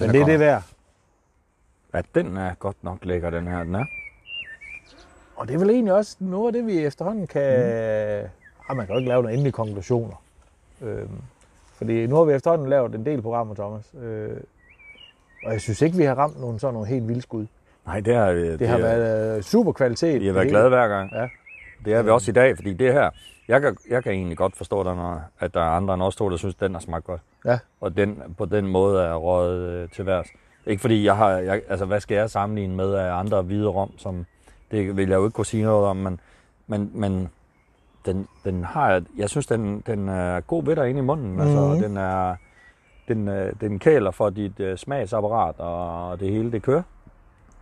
Speaker 1: Men det er det værd.
Speaker 2: Ja, den er godt nok lækker, den her. Den er.
Speaker 1: Og det er vel egentlig også noget af det, vi efterhånden kan... Mm.
Speaker 2: Mhm.
Speaker 1: Ah, man kan jo ikke lave nogle endelige konklusioner. Øhm, fordi nu har vi efterhånden lavet en del programmer, Thomas. Øh, og jeg synes ikke, vi har ramt nogle sådan nogle helt vilde skud.
Speaker 2: Nej, det har, det,
Speaker 1: Det har været øh, super kvalitet.
Speaker 2: Vi har
Speaker 1: i
Speaker 2: været
Speaker 1: det
Speaker 2: glade hver gang.
Speaker 1: Ja.
Speaker 2: Det er vi også i dag, fordi det her... Jeg kan, jeg kan egentlig godt forstå, der, når- at der er andre end os to, der synes, den har smagt godt.
Speaker 1: Ja.
Speaker 2: Og den, på den måde er røget øh, til værs. Ikke fordi jeg har... Jeg, altså, hvad skal jeg sammenligne med af andre hvide rom, som... Det vil jeg jo ikke kunne sige noget om, men... men, men den, den har... Jeg synes, den, den er god ved dig inde i munden. Altså,
Speaker 1: Mhm.
Speaker 2: og den er... Den, øh, den kæler for dit øh, smagsapparat, og det hele, det kører.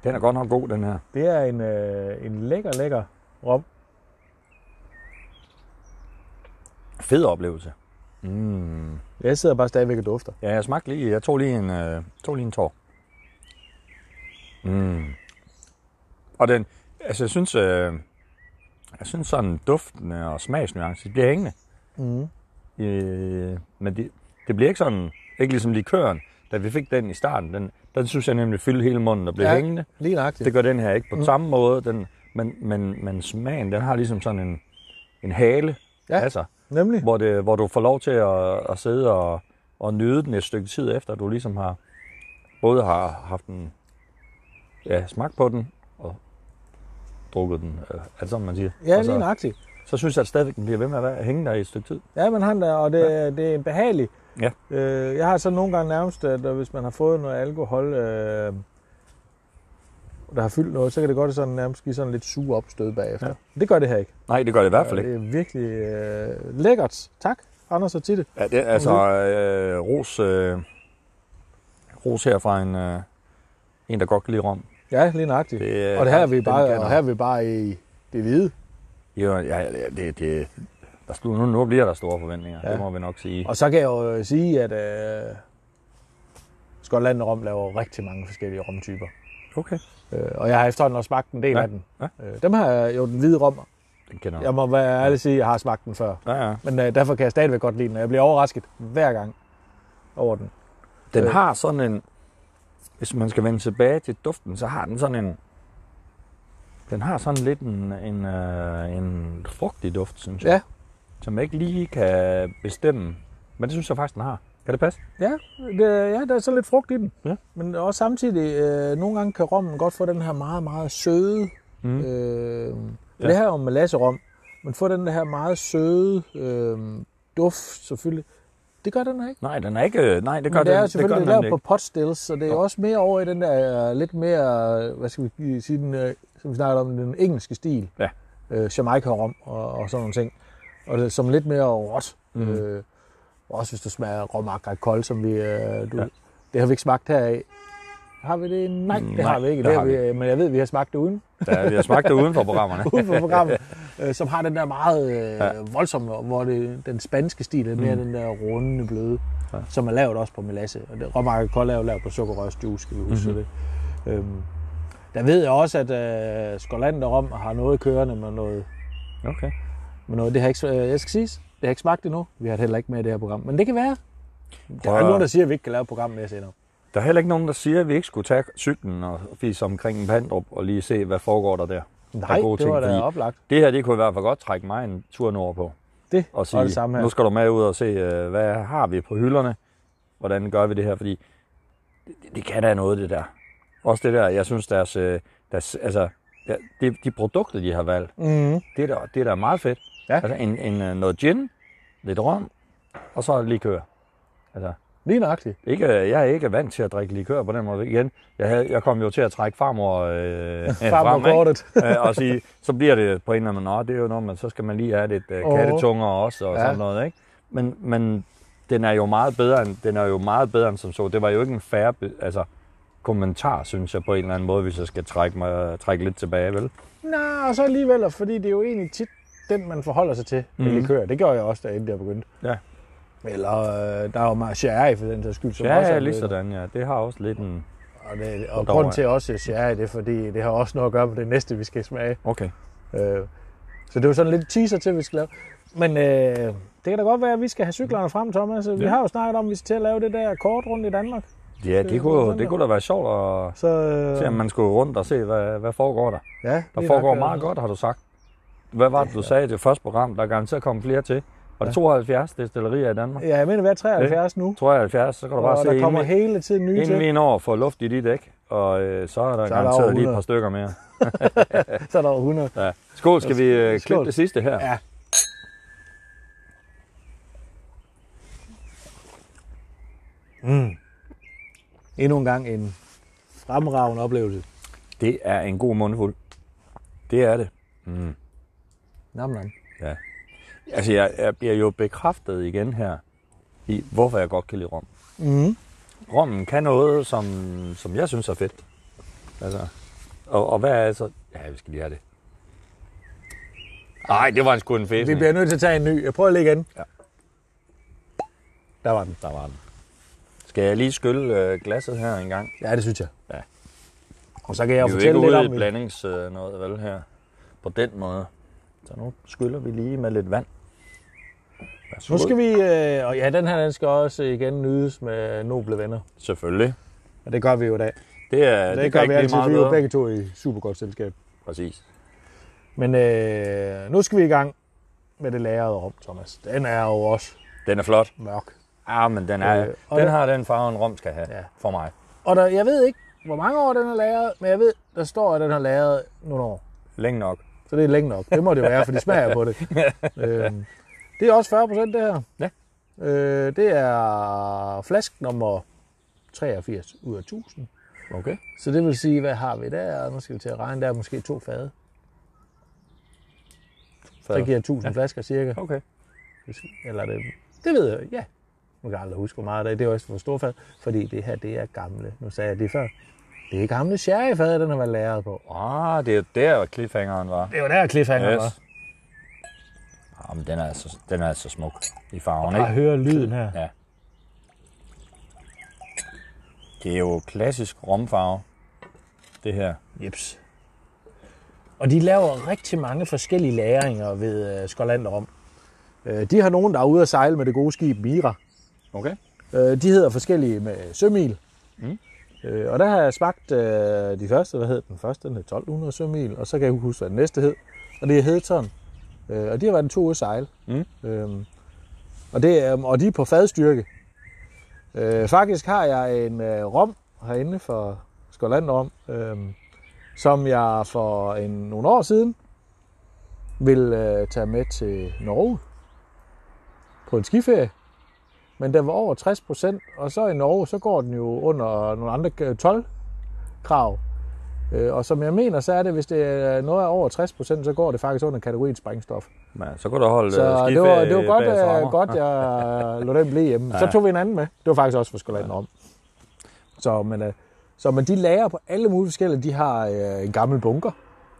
Speaker 2: Den er godt nok god, den her.
Speaker 1: Det er en, øh, en lækker, lækker rom.
Speaker 2: Fed oplevelse. Mm.
Speaker 1: Jeg sidder bare stadigvæk og dufter.
Speaker 2: Ja, jeg smagte lige. Jeg tog lige en, øh, tog lige en tår. Mm. Og den, altså jeg synes, øh, jeg synes sådan duften og smagsnuance, det bliver hængende. Mhm.
Speaker 1: Mm.
Speaker 2: Øh, men det, det bliver ikke sådan, ikke ligesom likøren, da vi fik den i starten. Den, den synes jeg nemlig fyldte hele munden og blev
Speaker 1: Ja.
Speaker 2: ja. hængende.
Speaker 1: Lige nøjagtigt.
Speaker 2: Det gør den her ikke på mm. samme måde. Den, men, men, men smagen, den har ligesom sådan en, en hale
Speaker 1: Ja.
Speaker 2: ja. af sig
Speaker 1: Nemlig.
Speaker 2: hvor, det, hvor du får lov til at, at sidde og, og nyde den et stykke tid efter, du ligesom har både har haft en ja, smagt på den og drukket den, øh, altså som man siger.
Speaker 1: Ja,
Speaker 2: og
Speaker 1: lige
Speaker 2: så,
Speaker 1: nøjagtigt.
Speaker 2: så synes jeg at stadigvæk, den bliver ved med at være- hænge der i et stykke tid.
Speaker 1: Ja, man har den der, og det, ja. det er behageligt.
Speaker 2: Ja.
Speaker 1: Øh, jeg har så nogle gange nærmest, at øh, hvis man har fået noget alkohol, øh, der har fyldt noget, så kan det godt sådan nærmest give sådan lidt sure opstød bagefter. Ja.
Speaker 2: Ja.
Speaker 1: Det gør det her ikke.
Speaker 2: Nej, det gør det i hvert fald
Speaker 1: Det
Speaker 2: ikke.
Speaker 1: er virkelig øh, lækkert. Tak, Anders og Titte.
Speaker 2: Ja, det, altså, øh, ros, øh, ros her fra en, øh, en, der godt kan lide rom.
Speaker 1: Ja, lige nøjagtigt.
Speaker 2: Det, øh,
Speaker 1: og det her er vi
Speaker 2: den
Speaker 1: bare,
Speaker 2: kan
Speaker 1: og
Speaker 2: noget.
Speaker 1: her er vi bare i det hvide.
Speaker 2: Jo, ja, ja, det, det, der, slu- nu, nu bliver der store forventninger,
Speaker 1: Ja.
Speaker 2: ja. det må vi nok sige.
Speaker 1: Og så kan jeg jo øh, sige, at øh, Skotland og Rom laver rigtig mange forskellige romtyper.
Speaker 2: Okay,
Speaker 1: Øh, og jeg har efterhånden også smagt en del
Speaker 2: Ja,
Speaker 1: af dem.
Speaker 2: ja.
Speaker 1: Øh, dem har jeg jo den hvide rom
Speaker 2: den kender
Speaker 1: Jeg må være ærlig og sige, at jeg har smagt den før.
Speaker 2: Ja, ja.
Speaker 1: Men øh, derfor kan jeg stadigvæk godt lide den, og jeg bliver overrasket hver gang over den.
Speaker 2: Den
Speaker 1: Øh.
Speaker 2: har sådan en, hvis man skal vende tilbage til duften, så har den sådan en, den har sådan lidt en, en, øh, en frugtig duft, synes jeg.
Speaker 1: Ja.
Speaker 2: Som jeg ikke lige kan bestemme. Men det synes jeg faktisk, den har. Kan det passe?
Speaker 1: Ja, det, ja der er så lidt frugt i den.
Speaker 2: Ja.
Speaker 1: Men også samtidig, øh, nogle gange kan rommen godt få den her meget, meget søde... Mm. Øh, ja.
Speaker 2: Ja.
Speaker 1: Det her er jo melasserom, men få den her meget søde øh, duft selvfølgelig. Det gør den her ikke.
Speaker 2: Nej, den er ikke, nej, det gør
Speaker 1: Men det er jo
Speaker 2: den, det gør
Speaker 1: selvfølgelig
Speaker 2: den
Speaker 1: lavet
Speaker 2: ikke.
Speaker 1: på potstills, så det er jo også mere over i den der øh, lidt mere, øh, hvad skal vi sige, den, øh, som vi snakkede om, den engelske stil.
Speaker 2: Ja.
Speaker 1: Øh, Jamaica-rom og, og sådan nogle ting. Og det, som lidt mere råt. Mm.
Speaker 2: Mhm.
Speaker 1: Øh, også hvis du smager rom kold, som vi... Øh, du, ja. Det har vi ikke smagt heraf. Har vi det? Nej, det
Speaker 2: Nej,
Speaker 1: har vi ikke.
Speaker 2: det
Speaker 1: Det
Speaker 2: har
Speaker 1: har vi, øh, men jeg ved, at vi har smagt det uden,
Speaker 2: Ja, vi har smagt det uden for programmerne.
Speaker 1: uden for programmet, øh, som har den der meget øh, voldsomme, hvor det, den spanske stil er mere mm. den der runde bløde, ja. som er lavet også på melasse. Og det, Romark og Kold er jo lavet på sukkerrørsjuice, skal vi
Speaker 2: Mhm.
Speaker 1: huske mm-hmm. det. Øhm, der ved jeg også, at øh, Skolander Rom har noget kørende med noget
Speaker 2: Okay.
Speaker 1: Men noget, det har ikke, øh, jeg skal siges, det har ikke smagt endnu. Vi har det heller ikke med i det her program. Men det kan være. Der
Speaker 2: Prøv
Speaker 1: er
Speaker 2: at-
Speaker 1: ikke nogen, der siger, at vi ikke kan lave et program med senere.
Speaker 2: Der er heller ikke nogen, der siger, at vi ikke skulle tage cyklen og fise omkring en pandrup og lige se, hvad foregår der der. der
Speaker 1: Nej,
Speaker 2: er gode
Speaker 1: det
Speaker 2: ting,
Speaker 1: var da
Speaker 2: fordi
Speaker 1: oplagt.
Speaker 2: Det her, det kunne i hvert fald godt trække mig en tur nord på.
Speaker 1: Det
Speaker 2: Og
Speaker 1: var
Speaker 2: sige,
Speaker 1: det samme her.
Speaker 2: nu skal du med ud og se, øh, hvad har vi på hylderne? Hvordan gør vi det her? Fordi det, det kan da noget, det der. Også det der, jeg synes, deres, øh, deres altså, ja, de, de produkter, de har valgt,
Speaker 1: Mm.
Speaker 2: det er da, det er da meget fedt.
Speaker 1: Ja.
Speaker 2: Altså en, en, øh, noget gin, lidt rom, og så likør. Altså,
Speaker 1: Lige nøjagtigt.
Speaker 2: ikke, øh, jeg er ikke vant til at drikke likør på den måde igen. Jeg, havde, jeg kom jo til at trække farmor, øh,
Speaker 1: Frem
Speaker 2: frem,
Speaker 1: på
Speaker 2: ikke?
Speaker 1: kortet.
Speaker 2: Øh, og sige, så bliver det på en eller anden måde, "Nå, det er jo noget, man, så skal man lige have lidt øh,
Speaker 1: Åh.
Speaker 2: kattetunger også og
Speaker 1: Ja.
Speaker 2: ja. sådan noget, ikke? Men, men den er jo meget bedre end, den er jo meget bedre end som så. Det var jo ikke en færre be- altså, kommentar, synes jeg, på en eller anden måde, hvis jeg skal trække, mig, trække lidt tilbage, vel?
Speaker 1: Nej, og så alligevel, fordi det er jo egentlig tit den, man forholder sig til med mm.
Speaker 2: Mhm.
Speaker 1: likør. Det gjorde jeg også, da jeg endelig begyndte.
Speaker 2: Ja.
Speaker 1: Eller øh, der er jo meget sherry for den sags skyld. Som
Speaker 2: Ja,
Speaker 1: også er
Speaker 2: ja, lige
Speaker 1: blevet-
Speaker 2: sådan, ja. Det har også lidt en...
Speaker 1: Og, det, og
Speaker 2: Derovre,
Speaker 1: grunden
Speaker 2: ja.
Speaker 1: til også sherry, det er fordi, det har også noget at gøre med det næste, vi skal smage.
Speaker 2: Okay.
Speaker 1: Øh, så det var sådan lidt teaser til, at vi skal lave. Men øh, det kan da godt være, at vi skal have cyklerne frem, Thomas. Vi
Speaker 2: Ja.
Speaker 1: har jo snakket om, at vi skal til at lave det der kort rundt i Danmark.
Speaker 2: Ja,
Speaker 1: Det er
Speaker 2: det
Speaker 1: sådan
Speaker 2: kunne,
Speaker 1: der.
Speaker 2: det kunne da være sjovt at
Speaker 1: Så, øh,
Speaker 2: se, om man skulle rundt og se, hvad, hvad foregår der.
Speaker 1: ja,
Speaker 2: Der
Speaker 1: lige
Speaker 2: foregår
Speaker 1: nok, øh,
Speaker 2: meget godt, har du sagt. Hvad var det, du sagde i det første program? Der er garanteret kommet flere til. Og det 72 destillerier i Danmark.
Speaker 1: Ja, jeg mener, vi er 73 nu,
Speaker 2: 73, så kan du bare
Speaker 1: og
Speaker 2: se,
Speaker 1: der kommer
Speaker 2: inden,
Speaker 1: hele tiden nye
Speaker 2: inden vi
Speaker 1: til.
Speaker 2: en år får luft i dit dæk, og øh, så er der
Speaker 1: der over
Speaker 2: garanteret lige
Speaker 1: 100.
Speaker 2: et par stykker mere.
Speaker 1: Så er der over 100.
Speaker 2: Ja. Skål, skal vi
Speaker 1: Skål.
Speaker 2: øh, klippe det sidste her?
Speaker 1: Ja. Mm. Endnu en gang en fremragende oplevelse.
Speaker 2: Det er en god mundfuld. Det er det.
Speaker 1: Nam, nam.
Speaker 2: Altså, jeg, jeg bliver jo bekræftet igen her, i hvorfor jeg godt kan lide rom. Mm-hmm.
Speaker 1: Mm.
Speaker 2: Rommen kan noget, som, som jeg synes er fedt. Altså, og, og hvad er så... Ja, vi skal lige have det. Nej, det var en sgu en fæsning.
Speaker 1: Vi bliver nødt til at tage en ny. Jeg prøver lige igen.
Speaker 2: Ja.
Speaker 1: Der var den.
Speaker 2: Der var den. Skal jeg lige skylle øh, glasset her en gang?
Speaker 1: Ja, det synes jeg.
Speaker 2: Ja.
Speaker 1: Og så kan jeg jo
Speaker 2: vi er jo ikke
Speaker 1: fortælle lidt
Speaker 2: ude i
Speaker 1: om...
Speaker 2: blandings øh, noget, vel, her. På den måde. Så nu skyller vi lige med lidt vand. Værsgo.
Speaker 1: Nu skal vi... Øh, og ja, den her den skal også igen nydes med noble venner.
Speaker 2: Selvfølgelig.
Speaker 1: Og det gør vi jo i dag.
Speaker 2: Det, er,
Speaker 1: det,
Speaker 2: det,
Speaker 1: det gør
Speaker 2: kan
Speaker 1: vi
Speaker 2: ikke blive
Speaker 1: altid.
Speaker 2: meget
Speaker 1: Vi er jo
Speaker 2: bedre.
Speaker 1: begge to i super godt selskab.
Speaker 2: Præcis.
Speaker 1: Men øh, nu skal vi i gang med det lagrede rum, Thomas. Den er jo også
Speaker 2: Den er flot.
Speaker 1: mørk.
Speaker 2: Ja, men den, er,
Speaker 1: Øh, og
Speaker 2: den
Speaker 1: den-
Speaker 2: har den farve, en rom skal have
Speaker 1: Ja.
Speaker 2: ja. for mig.
Speaker 1: Og der, jeg ved ikke, hvor mange år den har lagret, men jeg ved, der står, at den har lagret nogle år.
Speaker 2: Længe nok.
Speaker 1: Så det er længe nok. Det må det være, for de smager på det. øhm, det er også 40 procent, det her.
Speaker 2: Ja.
Speaker 1: Øh, det er flask nummer 83 ud af 1000.
Speaker 2: Okay.
Speaker 1: Så det vil sige, hvad har vi der? Nu skal vi til at regne. Der er måske to fade. Der giver 1000 ja. flasker cirka.
Speaker 2: Okay.
Speaker 1: Eller det, det ved jeg, ja. Nu kan jeg aldrig huske, hvor meget det er. Det er også for stor fad, fordi det her, det er gamle. Nu sagde jeg det før. Det er gamle sherryfade, den har været lagret på.
Speaker 2: Ah, det er der, cliffhangeren var.
Speaker 1: Det var der, cliffhanger yes. var.
Speaker 2: Yes. Jamen, den er, så, den er så smuk i farven,
Speaker 1: Bare
Speaker 2: ikke?
Speaker 1: høre lyden her.
Speaker 2: Ja. Det er jo klassisk romfarve, det her.
Speaker 1: Jeps. Og de laver rigtig mange forskellige læringer ved øh, Skotland og Rom. Øh, de har nogen, der er ude at sejle med det gode skib Mira.
Speaker 2: Okay.
Speaker 1: Øh, de hedder forskellige med sømil. Mm. Øh, og der har jeg smagt øh, de første, hvad hed den første? Den hed 1200 sømil, og så kan jeg ikke huske, hvad den næste hed. Og det er Hedton. Øh, og de har været en to uger sejl. Mm. Øhm, og, det, er- og de er på fadstyrke. Øh, faktisk har jeg en øh, rom herinde fra Skotland rom, øh, som jeg for en, nogle år siden ville øh, tage med til Norge på en skiferie. Men den var over 60 procent, og så i Norge, så går den jo under nogle andre 12 krav. Øh, Og som jeg mener, så er det, hvis det er noget er over 60 procent, så går det faktisk under kategorien sprængstof.
Speaker 2: Men så kunne du holde
Speaker 1: Så
Speaker 2: øh, skiferie
Speaker 1: det var, det var godt,
Speaker 2: bag sommer.
Speaker 1: øh, godt jeg lå den blive hjemme. Så tog vi en anden med. Det var faktisk også for Skolander om. Så, men, øh, Så men de lager på alle mulige forskellige. De har øh, en gammel bunker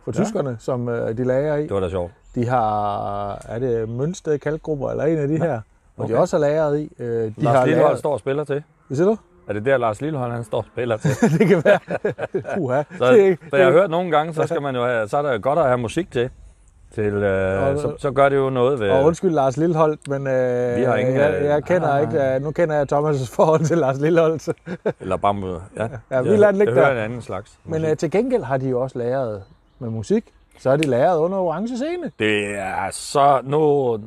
Speaker 1: for
Speaker 2: Ja.
Speaker 1: ja. tyskerne, som øh, de lager i.
Speaker 2: Det var da sjovt.
Speaker 1: De har, er det Mønsted Kalkgrupper eller en af de her, okay. hvor de
Speaker 2: okay.
Speaker 1: også har lagret i. Øh, de
Speaker 2: De Lars
Speaker 1: har
Speaker 2: Lillehold
Speaker 1: lagret...
Speaker 2: står og spiller til.
Speaker 1: Hvad siger du?
Speaker 2: Er det der, Lars Lillehold han står og spiller til?
Speaker 1: det kan være. Uha.
Speaker 2: Så,
Speaker 1: det er ikke-
Speaker 2: så jeg har hørt nogle gange, så, skal man jo have, så er det jo godt at have musik til. til øh,
Speaker 1: Og-
Speaker 2: så, så, gør det jo noget ved...
Speaker 1: Og undskyld Lars Lilleholdt, men øh,
Speaker 2: øh, Vi har ingen,
Speaker 1: jeg,
Speaker 2: øh,
Speaker 1: jeg kender
Speaker 2: ah.
Speaker 1: ikke, øh, nu kender jeg Thomas' forhold til Lars Lilleholdt. så-
Speaker 2: Eller bambude. Ja,
Speaker 1: Ja, vi
Speaker 2: Jeg-
Speaker 1: lader den ligge
Speaker 2: Jeg hører
Speaker 1: der.
Speaker 2: en anden slags
Speaker 1: Men
Speaker 2: musik.
Speaker 1: øh, til gengæld har de jo også læret med musik. Så er de læret under orange scene.
Speaker 2: Det er så... Nu,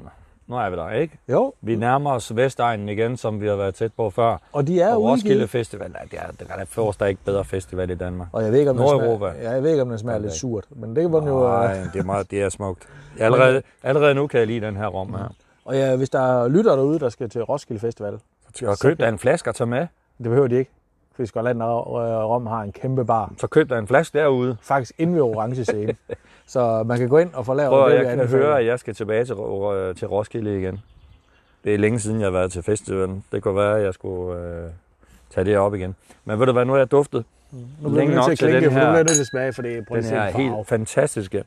Speaker 2: nu er vi der, ikke?
Speaker 1: Jo,
Speaker 2: Vi nærmer os Vestegnen igen, som vi har været tæt på før.
Speaker 1: og de er
Speaker 2: og Roskilde
Speaker 1: udgivet.
Speaker 2: Festival, nej, det er, der er der fås der ikke bedre festival i Danmark.
Speaker 1: Og jeg ved ikke, om den
Speaker 2: Nordeuropa.
Speaker 1: smager, ja, jeg ved ikke, om den smager
Speaker 2: Ved
Speaker 1: lidt
Speaker 2: ikke.
Speaker 1: surt. Men det var jo...
Speaker 2: Nej,
Speaker 1: Øh,
Speaker 2: det er, meget, det er smukt. Allerede, allerede nu kan jeg lide den her rom her.
Speaker 1: og ja, hvis der er lytter derude, der skal til Roskilde Festival,
Speaker 2: Og køb dig en flaske og tage med.
Speaker 1: det behøver de ikke. Fordi Skotland og øh, Rom har en kæmpe bar.
Speaker 2: Så køb dig en flaske derude.
Speaker 1: Faktisk inde ved orange scene. så man kan gå ind og få lavet
Speaker 2: Prøv at
Speaker 1: det, vi
Speaker 2: jeg kan
Speaker 1: anbefaler.
Speaker 2: høre, at jeg skal tilbage til, Ro- øh, til Roskilde igen. Det er længe siden, jeg har været til festivalen. Det kunne være, at jeg skulle øh, tage det op igen. Men ved du hvad, nu har jeg duftet.
Speaker 1: Nu bliver
Speaker 2: længe
Speaker 1: du nødt
Speaker 2: nok
Speaker 1: til at
Speaker 2: til
Speaker 1: klinke,
Speaker 2: den
Speaker 1: for nu
Speaker 2: her-
Speaker 1: bliver jeg nødt til at smage, for det er prøv
Speaker 2: Den
Speaker 1: at se
Speaker 2: her
Speaker 1: en farve.
Speaker 2: helt fantastiske.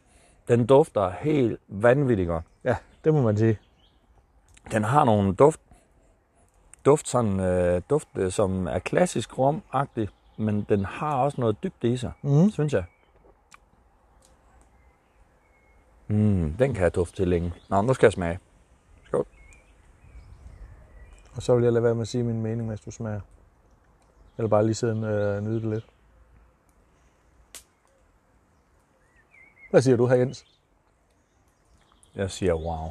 Speaker 2: Den dufter helt vanvittigt godt.
Speaker 1: Ja, det må man sige.
Speaker 2: Den har nogle duft, duft, sådan, øh, duft øh, som er klassisk rom men den har også noget dybde i sig, mm. synes jeg. Mm, den kan jeg dufte til længe. Nå, nu skal jeg smage. Skål.
Speaker 1: Og så vil jeg lade være med at sige min mening, mens du smager. Eller bare lige sidde og øh, nyde det lidt. Hvad siger du her, Jens?
Speaker 2: Jeg siger wow.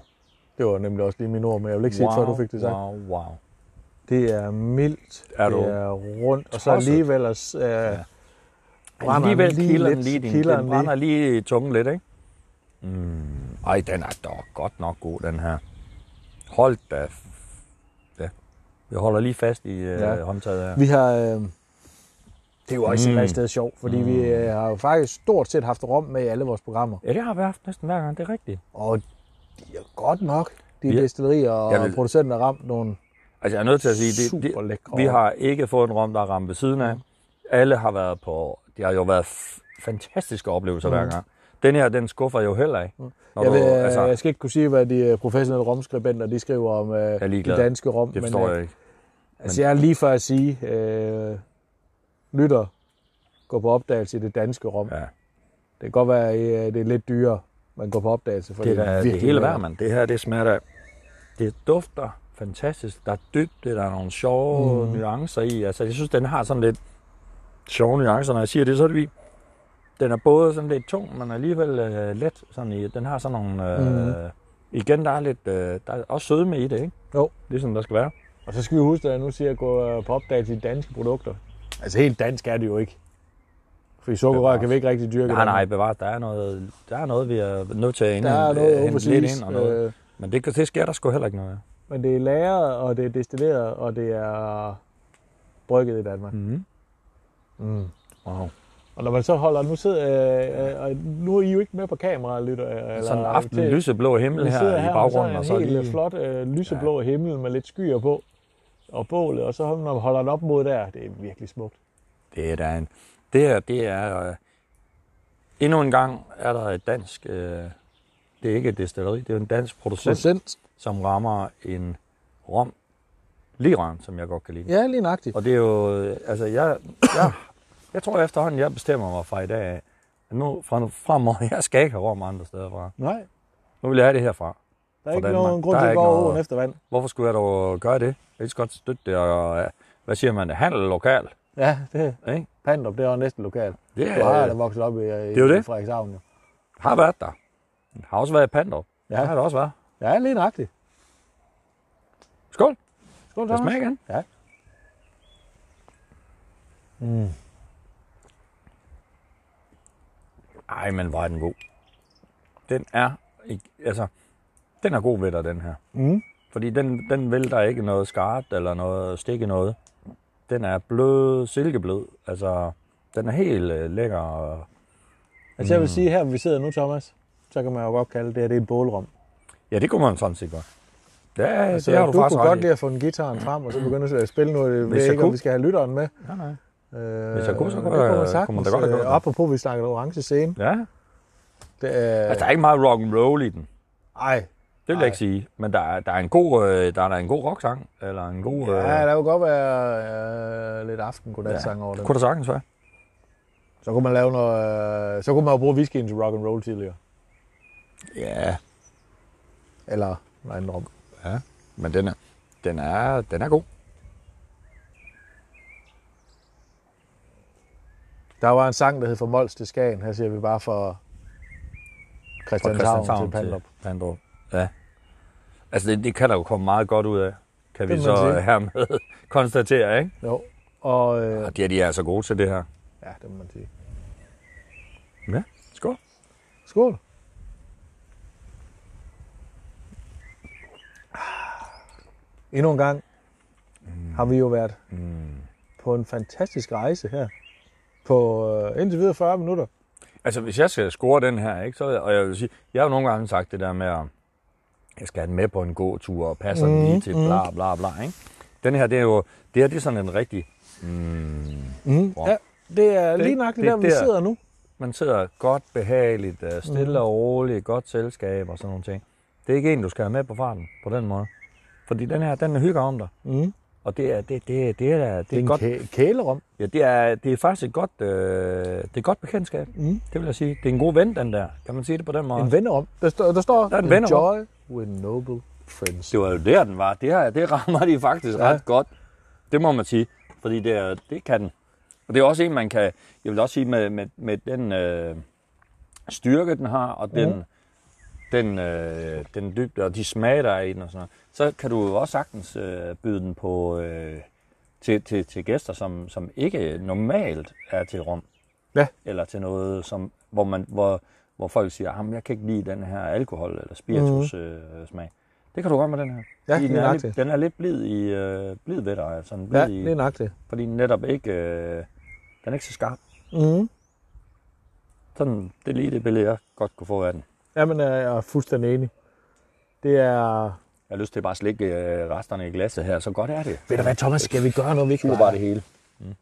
Speaker 1: Det var nemlig også lige mine ord, men jeg vil ikke sige det, før du fik det sagt. Wow.
Speaker 2: Wow, wow.
Speaker 1: Det er mildt,
Speaker 2: Er du
Speaker 1: det er rundt, og så
Speaker 2: tosset?
Speaker 1: alligevel også, øh, ja.
Speaker 2: Brænder Alligevel lige kilder den lige, din, den brænder lige i tungen lidt, ikke? Mm, ej, den er dog godt nok god, den her. Hold da. f- Ja. Jeg holder lige fast i øh,
Speaker 1: Ja.
Speaker 2: ja. håndtaget her.
Speaker 1: Vi har... Øh, det er jo også mm.
Speaker 2: Mm.
Speaker 1: et sted sjovt, fordi mm. vi øh, har jo faktisk stort set haft rum med i alle vores programmer.
Speaker 2: Ja, det har vi haft næsten hver gang, det er rigtigt.
Speaker 1: Og de er godt nok, de
Speaker 2: Vi-
Speaker 1: destillerier
Speaker 2: Jeg
Speaker 1: og
Speaker 2: vil-
Speaker 1: producenter, har ramt nogle
Speaker 2: Altså, jeg er nødt til at sige, det,
Speaker 1: super
Speaker 2: det,
Speaker 1: lækre.
Speaker 2: vi har ikke fået en rom, der er ramt ved siden af. Alle har været på... Det har jo været f- fantastiske oplevelser mm. hver gang. Den her, den skuffer jo heller ikke. Mm. Når
Speaker 1: Jeg, vil,
Speaker 2: du, altså,
Speaker 1: jeg skal ikke kunne sige, hvad de øh, professionelle romskribenter de skriver om øh,
Speaker 2: er
Speaker 1: de
Speaker 2: ligeglad.
Speaker 1: danske rom.
Speaker 2: det forstår
Speaker 1: men, øh,
Speaker 2: jeg ikke.
Speaker 1: Altså, jeg er lige for at sige, øh, lytter, gå på opdagelse i det danske rom.
Speaker 2: Ja.
Speaker 1: Det kan godt være, at det er lidt dyrere, man går på opdagelse. For
Speaker 2: Det er da det
Speaker 1: virkelig
Speaker 2: hele
Speaker 1: lækkert.
Speaker 2: værd, mand. Det her, det smager da... Det dufter fantastisk. Der er dybde, der er nogle sjove mm. nuancer i. Altså, jeg synes, den har sådan lidt sjove nuancer. Når jeg siger det, så er det fordi, den er både sådan lidt tung, men alligevel øh, let. Sådan i, den har sådan nogle... Øh, mm. Igen, der er lidt... Øh, der er også sødme i det, ikke?
Speaker 1: Jo.
Speaker 2: Det er sådan, der skal være.
Speaker 1: Og så skal vi huske, at jeg nu siger, at gå øh, på opdagelse i danske produkter. Altså, helt dansk er det jo ikke. Fordi sukkerrør
Speaker 2: Bevares.
Speaker 1: kan vi ikke rigtig dyrke. i
Speaker 2: Nej,
Speaker 1: Danmark.
Speaker 2: nej, bevares. Der er noget, der er noget vi er nødt til at ind,
Speaker 1: Der øh, er noget
Speaker 2: hente lidt
Speaker 1: overseas,
Speaker 2: ind. Og noget.
Speaker 1: øh,
Speaker 2: Men det, det sker der sgu heller ikke noget af.
Speaker 1: men det er lagret, og det er destilleret, og det er brygget i Danmark.
Speaker 2: Mm.
Speaker 1: Mm-hmm. Mm.
Speaker 2: Wow.
Speaker 1: Og når man så holder, nu sidder, øh, øh, og nu er I jo ikke med på kamera, lytter. øh, Eller,
Speaker 2: Sådan en aften, lyseblå himmel
Speaker 1: Vi sidder
Speaker 2: her,
Speaker 1: her
Speaker 2: i baggrunden.
Speaker 1: og
Speaker 2: Og
Speaker 1: så
Speaker 2: så
Speaker 1: er en helt
Speaker 2: lige...
Speaker 1: flot øh, lyseblå ja. himmel med lidt skyer på. Og bålet, og så når man holder den op mod der, det er virkelig smukt.
Speaker 2: Det er da en... Det her, det er... Øh, endnu en gang er der et dansk... Øh, det er ikke et destilleri, det er en dansk producent,
Speaker 1: Procent?
Speaker 2: som rammer en rom. Liran, som jeg godt kan lide.
Speaker 1: Ja, lige nøjagtigt.
Speaker 2: Og det er jo... øh, Altså, jeg... jeg jeg tror efterhånden, jeg bestemmer mig fra i dag af, at nu fra nu fremover, jeg skal ikke have rom andre steder fra.
Speaker 1: Nej,
Speaker 2: Nu vil jeg have det herfra.
Speaker 1: der er ikke
Speaker 2: Danmark.
Speaker 1: nogen grund
Speaker 2: Der
Speaker 1: til
Speaker 2: er
Speaker 1: at gå
Speaker 2: ikke
Speaker 1: over
Speaker 2: noget-
Speaker 1: åen efter vand.
Speaker 2: Hvorfor skulle jeg dog gøre det? Jeg kan så godt støtte det, og øh, hvad siger man, handel lokal,
Speaker 1: Ja, det
Speaker 2: ikke?
Speaker 1: Pandrup, det er jo næsten lokalt.
Speaker 2: Det,
Speaker 1: Du har
Speaker 2: er,
Speaker 1: da vokset op i, i,
Speaker 2: er jo
Speaker 1: i
Speaker 2: det.
Speaker 1: Frederikshavn. Jo.
Speaker 2: har været der. Har også været i Pandrup. Ja.
Speaker 1: Ja.
Speaker 2: Det har det også været.
Speaker 1: Ja, lige nøjagtigt.
Speaker 2: Skål.
Speaker 1: Skål,
Speaker 2: Skal
Speaker 1: Thomas.
Speaker 2: jeg smage igen?
Speaker 1: Ja.
Speaker 2: Ej, men hvor er den god. Den er, ikke- altså, den er god ved dig, den her.
Speaker 1: Mm.
Speaker 2: Fordi den, den vælter ikke noget skarpt eller noget stik i noget. Den er blød, silkeblød. Altså, den er helt øh, lækker. og-
Speaker 1: Altså jeg vil sige, her hvor vi sidder nu, Thomas, så kan man jo godt kalde det her, det er et bålrum.
Speaker 2: Ja, det kunne man sådan set godt. Ja,
Speaker 1: Så
Speaker 2: det har Altså, du,
Speaker 1: du
Speaker 2: faktisk
Speaker 1: kunne
Speaker 2: ret
Speaker 1: godt
Speaker 2: i.
Speaker 1: lide at få en gitaren frem, og så begynde at spille noget. Jeg
Speaker 2: Hvis
Speaker 1: ved
Speaker 2: jeg
Speaker 1: ikke, om
Speaker 2: kunne.
Speaker 1: vi skal have lytteren med.
Speaker 2: Nej, nej.
Speaker 1: Øh,
Speaker 2: Hvis jeg kunne, så kunne
Speaker 1: det
Speaker 2: der-
Speaker 1: kunne man
Speaker 2: kunne
Speaker 1: sagtens.
Speaker 2: man da godt have gjort
Speaker 1: øh,
Speaker 2: det.
Speaker 1: apropos, vi snakkede orange scene.
Speaker 2: Ja.
Speaker 1: Det er,
Speaker 2: Altså, der er ikke meget rock and roll i den.
Speaker 1: ej,
Speaker 2: Det vil jeg ikke sige. Men der er, der er en god, øh, der er, der en god rocksang. Eller en god... Øh,
Speaker 1: ja, der kunne godt være øh, lidt aften godnat-sang over
Speaker 2: det
Speaker 1: det.
Speaker 2: kunne der sagtens være.
Speaker 1: Så kunne man lave noget, øh, så kunne man jo bruge whiskyen til rock and roll tidligere.
Speaker 2: Ja,
Speaker 1: Eller nej, en rom.
Speaker 2: men den er, den er, den er god.
Speaker 1: Der var en sang, der hed For Mols til Skagen. Her siger vi bare for Christianshavn, Altså, til Pandrup.
Speaker 2: Pandrup. Ja. Altså, det, det kan der jo komme meget godt ud af, kan
Speaker 1: Det
Speaker 2: vi
Speaker 1: må
Speaker 2: så
Speaker 1: man sige.
Speaker 2: øh, hermed konstatere, ikke?
Speaker 1: Jo. Og øh,
Speaker 2: Og de, er- de er altså gode til det her.
Speaker 1: ja, det må man sige.
Speaker 2: Ja, skål.
Speaker 1: Skål. Ah, Endnu en gang har vi jo været
Speaker 2: Mm.
Speaker 1: på en fantastisk rejse her. På øh, indtil videre 40 minutter.
Speaker 2: Altså, hvis jeg skal score den her, ikke, så, og jeg vil sige, jeg har jo nogle gange sagt det der med, at jeg skal have den med på en god tur, og passer mm, den lige til bla bla bla, ikke? Den her, det er jo, det her, det er sådan en rigtig,
Speaker 1: Mm.
Speaker 2: Wow.
Speaker 1: Ja, det er
Speaker 2: Det-
Speaker 1: lige nøjagtigt
Speaker 2: det-
Speaker 1: der, vi
Speaker 2: det er-
Speaker 1: sidder nu.
Speaker 2: man sidder godt, behageligt, øh, stille
Speaker 1: Mhm.
Speaker 2: og roligt, godt selskab og sådan nogle ting. Det er ikke en, du skal have med på farten på den måde. Fordi den her, den hygger om dig.
Speaker 1: Mm.
Speaker 2: Og det er, det, det, det er, det er, det
Speaker 1: Det er
Speaker 2: er
Speaker 1: en
Speaker 2: godt,
Speaker 1: kæ- kælerum.
Speaker 2: ja, det er, det er faktisk et godt, øh, det er et godt bekendtskab.
Speaker 1: Mm.
Speaker 2: Det vil jeg sige. Det er en god ven, den der. Kan man sige det på den måde?
Speaker 1: En vennerum. Der, står, der står
Speaker 2: Der er en vennerum.
Speaker 1: Enjoy with noble friends.
Speaker 2: Det var jo der, den var. Det her, det rammer de faktisk
Speaker 1: Ja.
Speaker 2: ja. ret godt. Det må man sige. Fordi det, er, det kan den. Og det er også en, man kan... Jeg vil også sige, med, med, med den øh, styrke, den har, og
Speaker 1: Mhm.
Speaker 2: den, mm. den, øh, den dybde, og de smage, der er i den og sådan noget, så kan du jo også sagtens øh, byde den på... Øh, til, til, til gæster, som, som ikke normalt er til rum.
Speaker 1: Ja.
Speaker 2: Eller til noget, som, hvor, man, hvor, hvor folk siger, at jeg kan ikke lide den her alkohol eller spiritus mm. øh, smag. Det kan du godt med den her.
Speaker 1: Mhm. Ja,
Speaker 2: Fordi
Speaker 1: lige
Speaker 2: den, er
Speaker 1: nøjagtigt.
Speaker 2: lidt, den er lidt blid, i, øh, blid ved dig, altså, den blid
Speaker 1: Ja,
Speaker 2: i,
Speaker 1: lige nøjagtigt.
Speaker 2: fordi den netop ikke, øh, den er ikke så skarp.
Speaker 1: Mm.
Speaker 2: Sådan, det er lige det billede, jeg godt kunne få af den.
Speaker 1: Jamen, øh, jeg er fuldstændig enig. Det er
Speaker 2: Jeg har lyst til bare at slikke øh, resterne i glasset her, så godt er det.
Speaker 1: Ved du hvad, Thomas, skal vi gøre noget, vi ikke
Speaker 2: Det er bare det hele.
Speaker 1: Mm.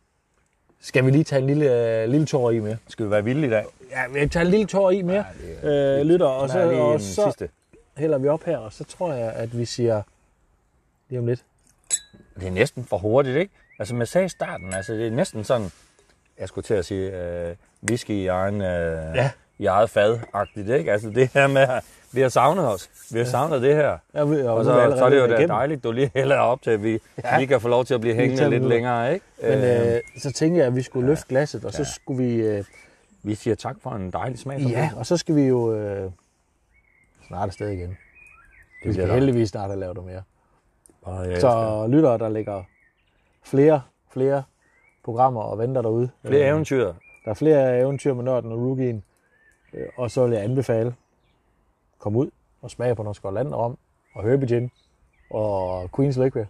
Speaker 1: Skal vi lige tage en lille, øh, lille tår i mere?
Speaker 2: Skal vi være vilde i dag?
Speaker 1: Ja, vi tager en lille tår i mere, ja, øh, lytter, og
Speaker 2: Der er
Speaker 1: så,
Speaker 2: lige en
Speaker 1: og så
Speaker 2: sidste.
Speaker 1: hælder vi op her, og så tror jeg, at vi siger lige om lidt.
Speaker 2: det er næsten for hurtigt, ikke? Altså, man sagde i starten, altså, det er næsten sådan, jeg skulle til at sige, øh, whisky i egen, øh,
Speaker 1: Ja.
Speaker 2: i eget fad-agtigt, ikke? Altså, det her med, at vi har savnet os. Vi har savnet det her.
Speaker 1: Ja, vi,
Speaker 2: Og
Speaker 1: nu er vi
Speaker 2: så,
Speaker 1: allerede
Speaker 2: så er det jo da
Speaker 1: igennem.
Speaker 2: dejligt, du lige hælder op til, at vi ja. lige kan få lov til at blive hængende
Speaker 1: tager
Speaker 2: lidt
Speaker 1: den ud.
Speaker 2: længere, ikke?
Speaker 1: Men
Speaker 2: øh,
Speaker 1: øh, så tænker jeg, at vi skulle ja, løfte glasset, og så skulle vi... Øh,
Speaker 2: vi siger tak for en dejlig smag.
Speaker 1: ja, og så skal vi jo øh, snart afsted igen. Vi
Speaker 2: bliver
Speaker 1: skal
Speaker 2: der.
Speaker 1: heldigvis snart have lavet det mere.
Speaker 2: Og, øh, så
Speaker 1: Så lyttere, der ligger flere, flere programmer og venter derude. øh,
Speaker 2: flere eventyr.
Speaker 1: Der er flere eventyr med nørden og rookien. Øh, Og så vil jeg anbefale, kom ud og smage på noget Skotland om og Herbie Gin og Queen's Liquor.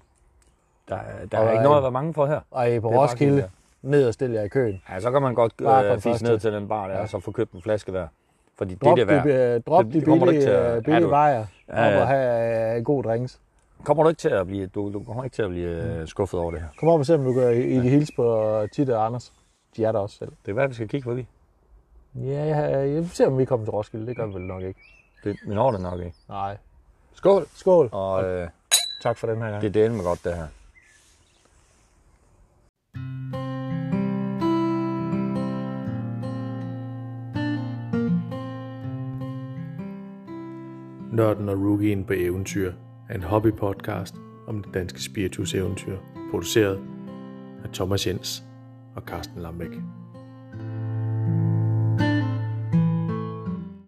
Speaker 2: Der, er- der
Speaker 1: Og øh, der
Speaker 2: er ikke
Speaker 1: er
Speaker 2: noget
Speaker 1: en-
Speaker 2: at være mange for her.
Speaker 1: Og I på
Speaker 2: Det er bare
Speaker 1: Roskilde,
Speaker 2: fint,
Speaker 1: ned og stille jer i køen.
Speaker 2: Ja, så kan man godt
Speaker 1: Bare kom
Speaker 2: øh,
Speaker 1: først
Speaker 2: fise ned
Speaker 1: til.
Speaker 2: til den bar der, ja. og så få købt en flaske hver. Fordi
Speaker 1: Drop
Speaker 2: det er det værd.
Speaker 1: de, øh, drop
Speaker 2: Det-
Speaker 1: de
Speaker 2: det kommer du ikke
Speaker 1: billige,
Speaker 2: til at-
Speaker 1: øh,
Speaker 2: er
Speaker 1: billige
Speaker 2: du-
Speaker 1: vejer
Speaker 2: Ja, ja.
Speaker 1: op og have øh, gode drinks.
Speaker 2: Kommer du ikke til at blive, du, du kommer ikke til at blive øh, skuffet over det her?
Speaker 1: Kom op og se, om du kan i, i de hils på Titte og Anders. De er der også selv.
Speaker 2: Det er værd, vi skal kigge forbi.
Speaker 1: Ja, jeg, jeg ser, om vi kommer til Roskilde. Det gør vi vel nok ikke.
Speaker 2: Det, vi når det nok ikke.
Speaker 1: Nej.
Speaker 2: Skål!
Speaker 1: Skål.
Speaker 2: Og øh,
Speaker 1: Tak for den her gang.
Speaker 2: det er med godt, det her.
Speaker 3: Nørden og Rookien på eventyr er en hobbypodcast om det danske spiritus-eventyr, produceret af Thomas Jens og Carsten Lambæk.